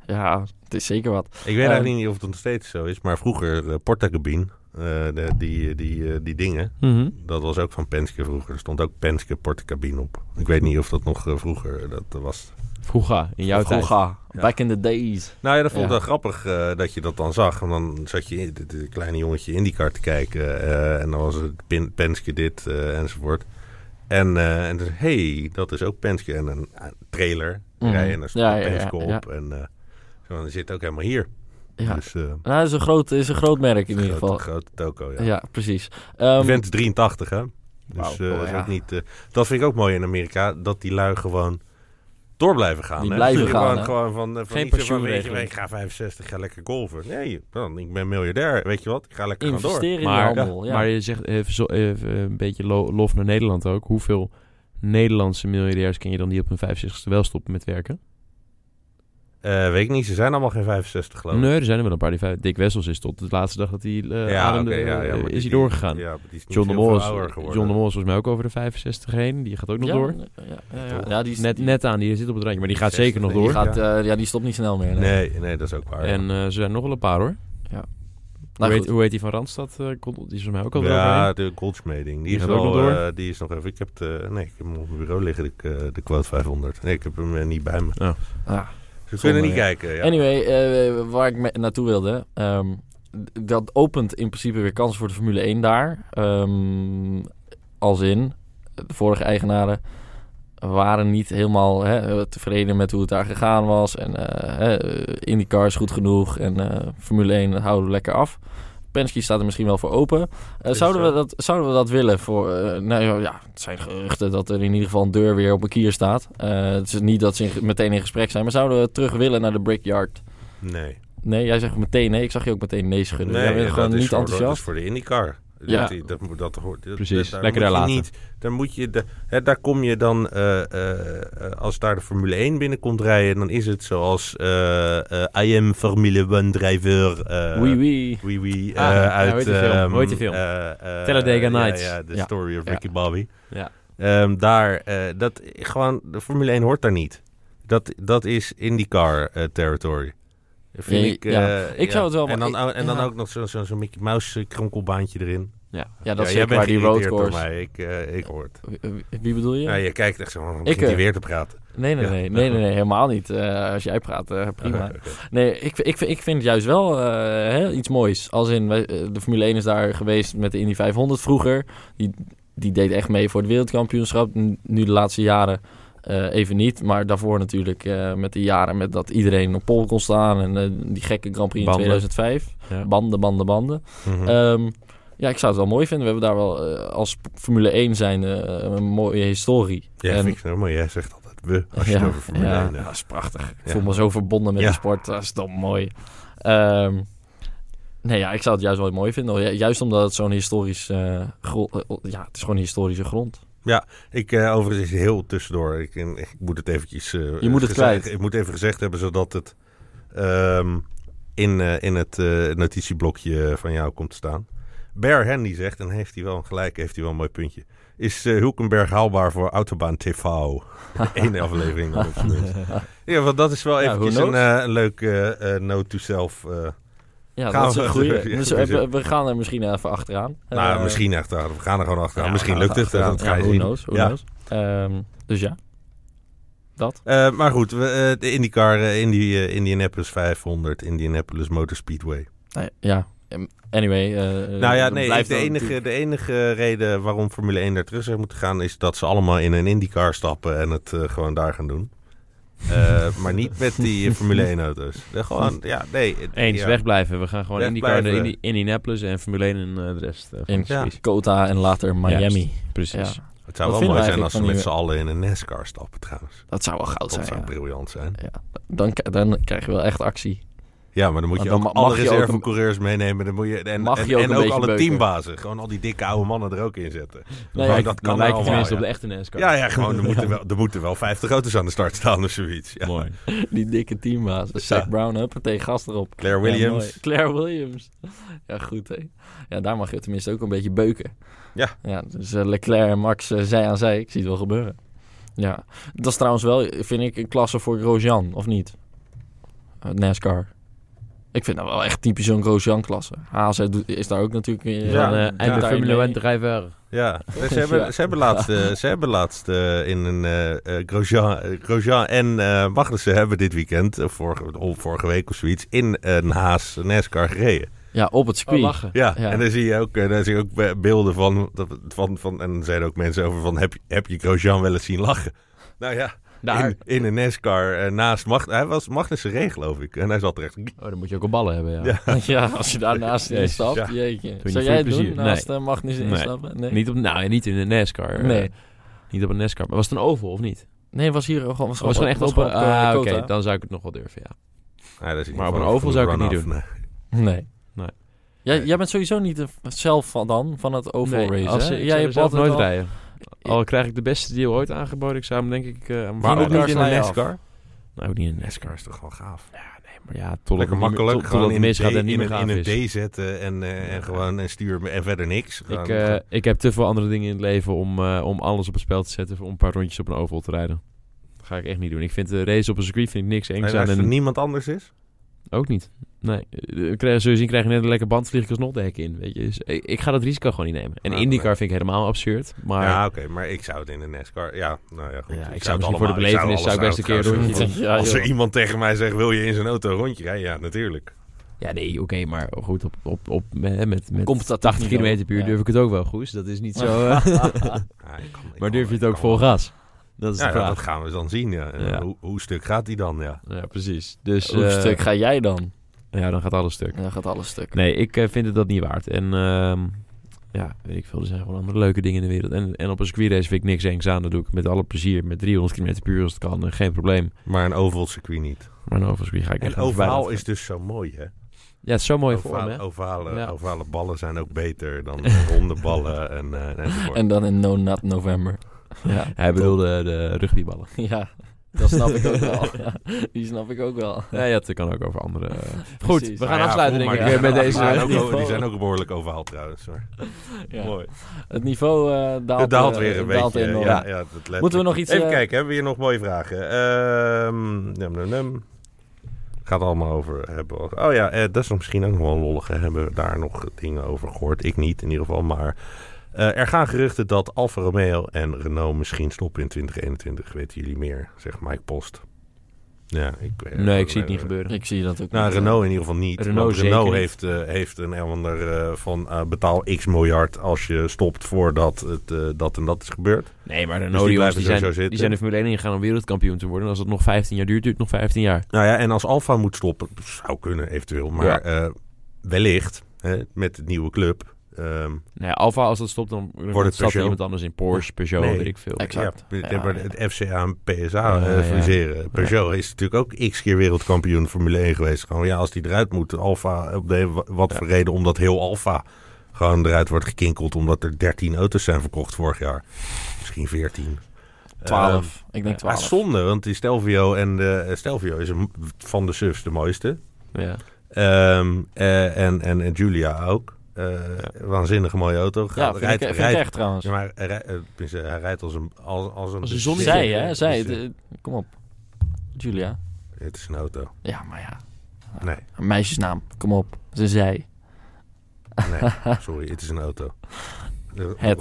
Ja, het is zeker wat.
Ik weet
Ehm,
eigenlijk niet of het nog steeds zo is, maar vroeger eh, Portacabine, eh, de- die, die, eh, die dingen,
Mhm.
Dat was ook van Penske vroeger. Er stond ook Penske portecabine op. Ik weet niet of dat nog eh, vroeger dat eh, was.
Vroeger, in jouw tijd.
Vroeger, eh,
Ja.
back in the days.
Nou ja, dat vond ik
Ja.
wel grappig eh, dat je dat dan zag. En dan zat je in- dit- dit kleine jongetje in die kar te kijken. eh, en dan was het Pin- Penske dit eh, enzovoort. En, eh, en dus, hey, dat is ook Penske. En een eh, trailer
Mhm.
rijden en daar stond
Ja, ja,
Penske
ja, ja.
op. En eh, zo, dan zit ook helemaal hier.
Ja,
Dus eh,
nou, dat is een groot, is een groot merk in ieder
grote,
geval.
grote toko, ja.
Ja, precies. Ehm,
Die vent is 83, hè? Dus
Wauw.
eh,
Oh,
is
ja.
ook niet, eh, dat vind ik ook mooi in Amerika, dat die lui gewoon door blijven gaan.
Die
hè?
blijven
Dus
gaan,
Gewoon,
hè?
gewoon van, eh, van
Geen
niet zo van, weet je,
pensioenregeling.
ik ga 65, ga lekker golven. Nee, dan, ik ben miljardair, weet je wat? Ik ga lekker gewoon door.
investeren in
Maar-
de handel. Ja.
Maar je zegt even, zo, even een beetje lo- lof naar Nederland ook. Hoeveel Nederlandse miljardairs ken je dan die op hun 65ste wel stoppen met werken?
Eh, weet ik niet, ze zijn allemaal geen 65 geloof ik.
Nee, er zijn er wel een paar die vijf. Dick Wessels is tot de laatste dag dat hij eh ademde,
oké, ja, ja,
eh,
maar
is
die-
hij doorgegaan.
Ja, maar die is niet
John, de
heel
Mol is,
veel ouder
John
geworden.
de Mol is volgens mij ook over de 65 heen. Die gaat ook nog
Ja,
door.
Ja, ja, ja, ja. Ja, die, is-
Net,
die-
net aan, die zit op het randje, maar die gaat
60,
zeker nog
denk
door.
die,
hoor.
gaat, eh, ja, die stopt niet snel meer. nee.
Nee, nee, dat is ook waar. ja.
En eh, ze zijn nog wel een paar hoor.
Nou,
hoe, heet,
goed.
hoe heet die van Randstad? eh, kon- die is volgens mij ook al
ja,
ja,
de goldsmeding. Die,
Die
is
gaat ook nog
wel,
door.
eh, die is nog even. Ik heb, de, nee, ik heb hem op mijn bureau liggen, de, eh, de quote 500. Nee, ik heb hem eh, niet bij me.
Ah.
Ze
Zonde,
kunnen niet
ja.
kijken. Ja.
Anyway, eh, waar ik me- naartoe wilde. ehm, dat opent in principe weer kansen voor de Formule 1 daar. Ehm, als in, de vorige eigenaren waren niet helemaal hè, tevreden met hoe het daar gegaan was. En eh, hè, IndyCar is goed genoeg en eh, Formule 1 houden we lekker af. Penske staat er misschien wel voor open. Eh,
Is
zouden,
zo.
we dat, zouden we dat willen? Voor, eh, nou ja, ja, het zijn geruchten dat er in ieder geval een deur weer op een kier staat. Eh, het is niet dat ze in ge- meteen in gesprek zijn, maar zouden we terug willen naar de Brickyard?
Nee.
Nee, jij zegt meteen nee. Ik zag je ook meteen nee schudden. jij bent
dat
gewoon
is
niet
voor- Dat
enthousiast.
is voor de IndyCar.
Ja.
Dat, die- dat, moet- dat hoort. dat-
Precies,
dat- daar
lekker
moet
daar
je
laten.
Niet, daar, moet je de, hè, daar kom je dan, eh, eh, eh, als daar de Formule 1 binnenkomt rijden, dan is het zoals eh, eh, I am Formule 1 driver. eh,
Wee wee.
Wee Wee
Ah,
eh,
ja,
uit...
hoe heet die film?
ehm,
Hoe heet die film?
eh, eh,
Talladega
ja,
Nights.
Ja, The
Ja.
Story of
Ja.
Ricky Bobby.
Ja.
Ehm, daar, eh, dat, gewoon, de Formule 1 hoort daar niet. Dat, dat is IndyCar eh, territory. Vind
Ja,
ik,
ja.
eh,
Ik zou het wel-
En dan,
ik-
ou- en dan
ja.
ook nog zo'n zo, zo'n Mickey Mouse eh, kronkelbaantje erin.
Ja, dat
Ja,
is
jij
zeker waar
bent
die
geïrriteerd door
roadcourse...
mij. Ik, eh, ik hoor het.
Wie- Wie bedoel je?
Ja, je kijkt echt zo, oh, dan
Ik,
begint hij
eh,
weer te praten.
Nee, nee,
Ja.
nee, nee, nee, nee, helemaal niet. Eh, als jij praat, eh, prima.
Oké.
Nee, ik, ik, ik vind het juist wel eh, hè, iets moois. Als in, wij- eh, de Formule 1 is daar geweest met de Indy 500 vroeger. Die, die deed echt mee voor het wereldkampioenschap. N- Nu de laatste jaren eh, even niet. Maar daarvoor natuurlijk eh, met de jaren met dat iedereen op pol kon staan. En eh, die gekke Grand Prix
Banden.
in 2005.
Ja.
Banden, banden, banden.
Mhm.
Ehm, ja, ik zou het wel mooi vinden. We hebben daar wel eh, als Formule 1 zijn eh, een mooie historie.
ja,
en-
vind ik zo mooi. Jij zegt altijd we, als je
Ja,
het over Formule
ja.
1 hebt.
Ja, dat is prachtig. Ik
Ja.
voel me zo verbonden met
Ja.
de sport. Dat is toch mooi. Ehm, nee, ja, ik zou het juist wel mooi vinden. Ju- Juist omdat het zo'n historisch... eh, gro- eh, oh, ja, het is gewoon een historische grond.
Ik, eh, overigens, heel tussendoor. Ik, ik moet het eventjes... eh,
moet het
gezegd-
kwijt.
Ik moet even gezegd hebben, zodat het ehm, in, eh, in het eh, notitieblokje eh, van jou komt te staan. Bear Handy zegt, en heeft hij wel een gelijk, heeft hij wel een mooi puntje. Is eh, Hulkenberg haalbaar voor Autobaan TV? Eén aflevering. dan op z'n minst. ja, want dat is wel
Ja,
eventjes
who
een,
knows?
eh, een leuk eh, eh, note to self. eh.
Ja,
Gaan
dat is
we-
een goeie.
Ja,
Dus
precies.
we, we gaan er misschien even achteraan.
nou,
Eh,
misschien achteraan. We gaan er gewoon achteraan.
ja,
misschien
we gaan
lukt het. eh,
achteraan.
Dat
Ja,
ga je
who
zien.
knows, who
Ja.
knows. Ehm, dus ja. Dat.
Eh, maar goed, we, eh, de IndyCar, eh, Indy, eh, Indianapolis 500, Indianapolis Motor Speedway.
Nou, ja. Em, Anyway. eh,
nou ja,
dat
nee,
blijft
de
dan
enige,
natuurlijk-
de enige reden waarom Formule 1 daar terug zou moeten gaan... is dat ze allemaal in een IndyCar stappen en het eh, gewoon daar gaan doen. Eh, maar niet met die eh, Formule 1-auto's. Gewoon, ja, nee. het-
Eens,
ja.
wegblijven. We gaan gewoon
Weg
IndyCar naar
blijven.
Indi- Indianapolis en Formule 1 en eh, de rest. eh, van
In
de circuit.
Kota en later Miami.
Precies.
Ja,
Het zou
Wat vinden we
wel mooi zijn
eigenlijk
als ze
van
met
die- eh,
z'n allen in een NASCAR stappen trouwens.
dat zou wel goud
Dat
zijn.
zou
ja.
briljant zijn.
Dan, k- dan krijg je wel echt actie.
Ja, maar dan moet
Want
je
dan
ook
ma-
alle
mag je ook een-
reservecoureurs meenemen. Dan moet je, en
Mag
en,
je ook
en
een
ook
beetje
alle
beuken.
teambazen. Gewoon al die dikke oude mannen er ook in zetten.
Nee,
Maar
ja,
Nou dat
Dan
kan
lijkt het
allemaal,
tenminste
ja.
op de echte NASCAR.
Ja, ja, gewoon. Er moeten, wel, er moeten wel 50 auto's aan de start staan of zoiets. Ja.
Mooi.
Die dikke teambaas. Zack Brown, huppatee, gas erop.
Claire
Ja,
Williams.
mooi. Claire Williams. Ja, goed hè. Ja, daar mag je tenminste ook een beetje beuken.
Ja.
Ja, dus eh, Leclerc en Max eh, zij aan zij. Ik zie het wel gebeuren. Ja, dat is trouwens wel, vind ik, een klasse voor Grosjean, of niet? Eh, NASCAR. Ik vind dat wel echt typisch zo'n Grosjean-klasse. Haas eh, doet- is daar ook natuurlijk... eh,
Ja,
Dan, eh,
doet
en de
daar
Formule
mee.
1 driver. eh,
ja. Ze, hebben, ze hebben laatst, eh, ze hebben laatst eh, in een eh, eh, Grosjean, eh, Grosjean en eh Magnussen hebben dit weekend, eh, vorige, of vorige week of zoiets, in een Haas NASCAR gereden.
Ja, op het circuit.
lachen.
Ja,
Ja.
en daar zie je ook, eh, daar zie je ook be- beelden van, dat- van, van. En er zijn ook mensen over van, heb, je- heb je Grosjean wel eens zien lachen? Nou ja,
Daar.
in, in een NASCAR eh, naast Mag, hij was Magnussen ree geloof ik. En hij zat er echt...
Oh, dan moet je ook op ballen hebben, ja.
Ja.
Ja, als je daarnaast
Jezus,
instapt,
ja.
jeetje.
je
Zou
voor
jij
je
het doen,
plezier? Nee.
naast eh, Magnus
Nee.
instappen? Nee.
Niet op, nou, niet in de NASCAR. eh,
nee.
niet op een NASCAR. Maar was het een oval of niet?
Nee, was hier gewoon... Was,
Oh, was gewoon echt op een...
gewoon op, eh,
Ah, oké.
Kota.
Dan zou ik het nog wel durven, ja.
Ja, dat is in
Maar op
ieder
een
geval
oval zou ik het
run-off. eh.
niet doen.
Nee.
Nee.
Nee.
Jij,
Nee.
jij bent sowieso niet de- zelf van dan, van het oval
Nee,
race,
als,
hè?
ik
jij
zou er
hebt
zelf
altijd
nooit
al-
rijden. Al krijg ik de beste deal ooit aangeboden. Ik zou hem denk ik... eh, aan
Maar ook
mijn
niet in
sla
een
je af.
NASCAR?
Nou, ook niet in de NASCAR.
NASCAR is toch wel gaaf.
Maar ja, totdat het
Lekker
niet meer-
makkelijk.
tot-
gewoon
totdat
in
het
een,
misgaat
D,
en
in
niet meer dus
een, in
gaaf
een
is.
D zetten en, eh, en gewoon en stuur en verder niks. Gewoon-
Ik, eh, ik heb te veel andere dingen in het leven om, eh, om alles op het spel te zetten. Om een paar rondjes op een oval te rijden. Dat ga ik echt niet doen. Ik vind de race op een circuit vind ik niks
en
engs
als
aan.
er
En
niemand anders is.
ook niet. Nee. Eh, krijg- Zul je zien, krijg je net een lekker band, vlieg ik alsnog de hek in. Weet je? Dus ik, ik ga dat risico gewoon niet nemen. En
Nou,
IndyCar
nee.
vind ik helemaal absurd. Maar
ja, oké, maar ik zou het in een NASCAR. Ja, nou ja, goed.
Ja, ik zou
het
misschien
allemaal-
voor de
ik
belevenis
alles
zou ik best een
trouwens
keer
doen.
rondje
Ja,
Als
joh.
er iemand tegen mij zegt: wil je in zijn auto een rondje rijden? Ja, natuurlijk.
Ja, nee, oké, maar goed, op, op, op, hè, met, met
Competitief
80
niveau,
km per uur
ja.
durf ik het ook wel, Goes. Dat is niet zo... eh,
Ah, ik kan- ik
maar
kan-
durf je het
ik
ook
kan
vol
wel.
gas? Dat is
Ja,
de
dat, dat
vraag.
gaan we dan zien. Ja.
Ja.
Hoe, hoe stuk gaat die dan? Ja.
Ja, precies. Dus,
Hoe
eh,
stuk ga jij dan?
Ja, dan gaat alles stuk.
Dan gaat alles stuk.
Nee, ik eh, vind het dat niet waard. En ehm, ja, weet ik veel. Er zijn gewoon andere leuke dingen in de wereld. En, en op een circuitrace vind ik niks engs aan. Dat doe ik met alle plezier. Met 300 km per uur als het kan. eh, Geen probleem.
Maar een oval circuit niet.
Maar een oval circuit ga ik
En
echt aan voorbij
ovaal
laten.
is dus zo mooi, hè?
Ja, het is zo'n mooie
Ovaal-
vorm, hè?
ovale,
Ja.
ovale ballen zijn ook beter dan eh, ronde ballen en, eh, enzovoort.
En dan in No Nut November. Ja,
Hij bedoelde de rugbyballen.
ja, dat snap ik ook wel. Ja, die snap ik ook wel.
Ja, ja, dat kan ook over andere... eh, Goed,
Precies.
we gaan
Nou ja,
afsluiten,
voel
denk ik,
maar, die
eh, met
zijn- die
deze...
zijn ook- Die zijn ook behoorlijk ovaal trouwens. Maar.
Ja.
Mooi.
Het niveau eh, daalt,
Het daalt
eh,
weer een
het daalt
beetje.
enorm.
Ja, ja, dat letterlijk.
Moeten we nog iets...
Even
eh,
kijken, hebben we hier nog mooie vragen? Ehm num, num, num. Gaat allemaal over hebben. we- Oh ja, eh, dat is nog misschien ook nog wel lollig. hè. Hebben we daar nog dingen over gehoord? Ik niet in ieder geval. Maar eh, er gaan geruchten dat Alfa Romeo en Renault misschien stoppen in 2021. Weten jullie meer? Zegt Mike Post. Ja, ik, eh,
Nee, ik zie het
eh,
niet gebeuren.
Ik zie dat ook
nou,
niet. eh,
Renault in ieder geval niet.
eh, Renault
Renault,
zeker
Renault
niet.
heeft, eh, heeft een en ander eh, van eh, betaal x miljard als je stopt voordat het, eh, dat en dat is gebeurd.
Nee, maar de
die
Nodio,
blijven
die,
sowieso
zijn,
zitten.
die zijn de Formule 1 ingegaan om wereldkampioen te worden. En als dat nog 15 jaar duurt, duurt het nog 15 jaar.
Nou ja, en als Alfa moet stoppen, zou kunnen eventueel, maar
Ja.
eh, wellicht hè, met de nieuwe club. ehm,
Nee, Nou Alfa, als dat stopt, dan wordt
het
het stapt er
Peugeot.
iemand anders in. Porsche, Peugeot,
Nee.
weet ik veel.
Exact.
Ja,
Ja, ja.
het FCA en
Ja,
PSA
ja.
eh fuseren. Peugeot is natuurlijk ook x keer wereldkampioen Formule 1 geweest. Gewoon, ja, als die eruit moet, Alfa, op de, wa- wat voor reden, omdat heel Alfa gewoon eruit wordt gekinkeld, omdat er 13 auto's zijn verkocht vorig jaar. Misschien 14.
12. ik denk
ja,
eh, Ah,
12.
zonde, want die Stelvio, en de, eh, Stelvio is een- van de SUVs de mooiste.
Ja.
Ehm, eh, en, en, en Julia ook. Eh Waanzinnig mooie auto. Gaat-
ja, vind, ik, vind ik echt trouwens.
ja, maar hij, rij- eh, tenminste, hij rijdt als een... Als, als een,
Als een
dus-
zonnetje.
Zij, hè? Zij.
dus, eh,
de- kom op. Julia.
het is een auto.
Ja, maar ja.
Nee,
Een meisjesnaam. Kom op. Ze zij.
nee, sorry. Het is een auto.
Het.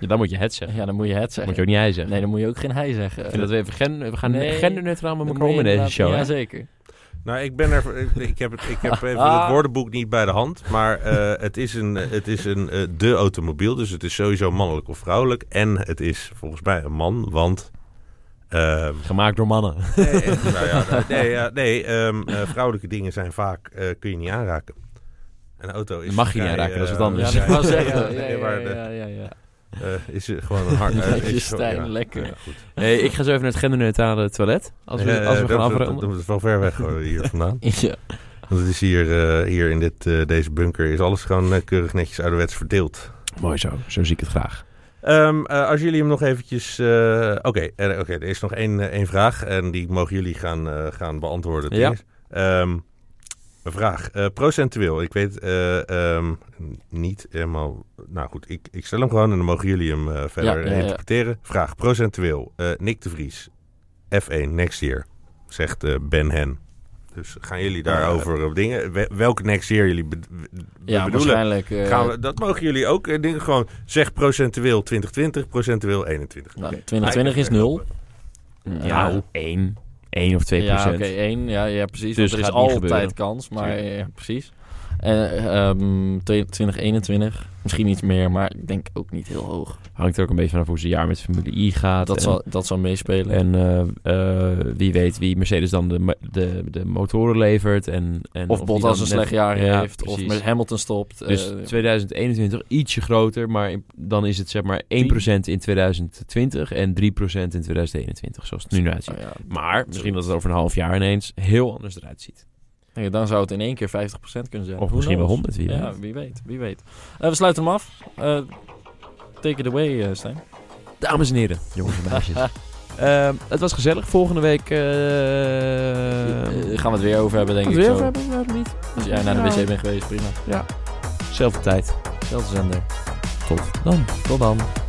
Ja, dan moet je het zeggen.
Ja, dan moet je het zeggen.
Moet je ook niet hij zeggen.
Nee, dan moet je ook geen hij zeggen.
Ik vind dat we even gen- we gaan
Nee.
genderneutraal met
Dan
elkaar om in
moet je
deze
inderdaad-
show. hè?
Jazeker.
Nou, ik ben er... Ik, ik heb, het, ik heb even het woordenboek niet bij de hand. Maar eh, het is een... Het is een eh, de automobiel. Dus het is sowieso mannelijk of vrouwelijk. En het is volgens mij een man. Want... ehm,
Gemaakt door mannen.
Nee, eh, nou ja, nou, nee, ja, nee ehm, eh, vrouwelijke dingen zijn vaak, eh, kun je niet aanraken. Een auto is...
Dat mag je niet
vrij,
aanraken, dat is
eh,
wat
Ja,
anders.
dat
vrij-
wou zeggen.
ja,
Ja,
nee,
ja,
maar de-
ja, ja, ja.
eh, Is eh, gewoon een hard...
Ja,
eh, is
je
zo-
Stijn, lekker.
ja, goed.
Nee, ik ga zo even naar het genderneutrale toilet. Als we,
Eh,
als we
dat-
gaan
dat-
afronden.
Dat is wel ver weg hoor, hier vandaan.
Ja.
Want het is hier, eh, hier in dit, eh, deze bunker is alles gewoon eh, keurig netjes ouderwets verdeeld.
Mooi zo, zo zie ik het graag.
Ehm, eh, als jullie hem nog eventjes... eh, Oké, er, oké, er is nog één, eh, één vraag en die mogen jullie gaan, eh, gaan beantwoorden.
Ja.
Dennis. Ehm, een vraag. Eh, procentueel, ik weet eh, ehm, niet helemaal... Nou goed, ik, ik stel hem gewoon en dan mogen jullie hem eh, verder
Ja, ja, ja.
interpreteren. Vraag, procentueel. eh Nick de Vries, F1, next year, zegt eh, Ben Hen. Dus gaan
Eh,
jullie daarover op dingen? We- welke next year jullie be-
Ja,
bedoelen?
waarschijnlijk. eh,
Gaan we, dat mogen jullie ook. eh, dingen gewoon zeg procentueel 2020, procentueel 21.
nou, 2020 is 0.
Ja, 1, 1 of 2
Ja, oké,
procent.
één. Ja, ja precies.
Dus
want er
gaat
is
niet
altijd
gebeuren.
kans, maar ja, precies. En, ehm, 2021, misschien iets meer, maar ik denk ook niet heel hoog.
Hangt er ook een beetje vanaf hoe ze jaar met Formule I gaat.
Dat,
en,
zal, dat zal meespelen.
En eh, eh, wie weet wie Mercedes dan de, ma- de, de motoren levert. En, en
of
die
Bottas
dan
een
net-
slecht jaar
Ja,
heeft,
precies.
of met Hamilton stopt.
Dus
eh,
2021 ietsje groter, maar in- dan is het zeg maar 1% in 2020 en 3% in 2021, zoals het er nu uitziet.
nou ja,
Maar misschien dat het over een half jaar ineens heel anders eruit ziet.
ja, dan zou het in één keer 50% kunnen zijn.
Of
Who
misschien wel 100,
knows?
wie
Ja,
weet.
wie weet, wie weet. Eh, we sluiten hem af. Eh, take it away, eh, Stijn.
Dames en heren, jongens en meisjes. Ehm, het was gezellig. Volgende week... eh
Eh, gaan we het weer over hebben, denk
Ehm, gaan we het
ik.
weer
zo.
over hebben? Nou, niet.
Als jij naar de wc bent geweest, prima.
Zelfde tijd.
Zelfde zender.
Tot dan.
Tot dan.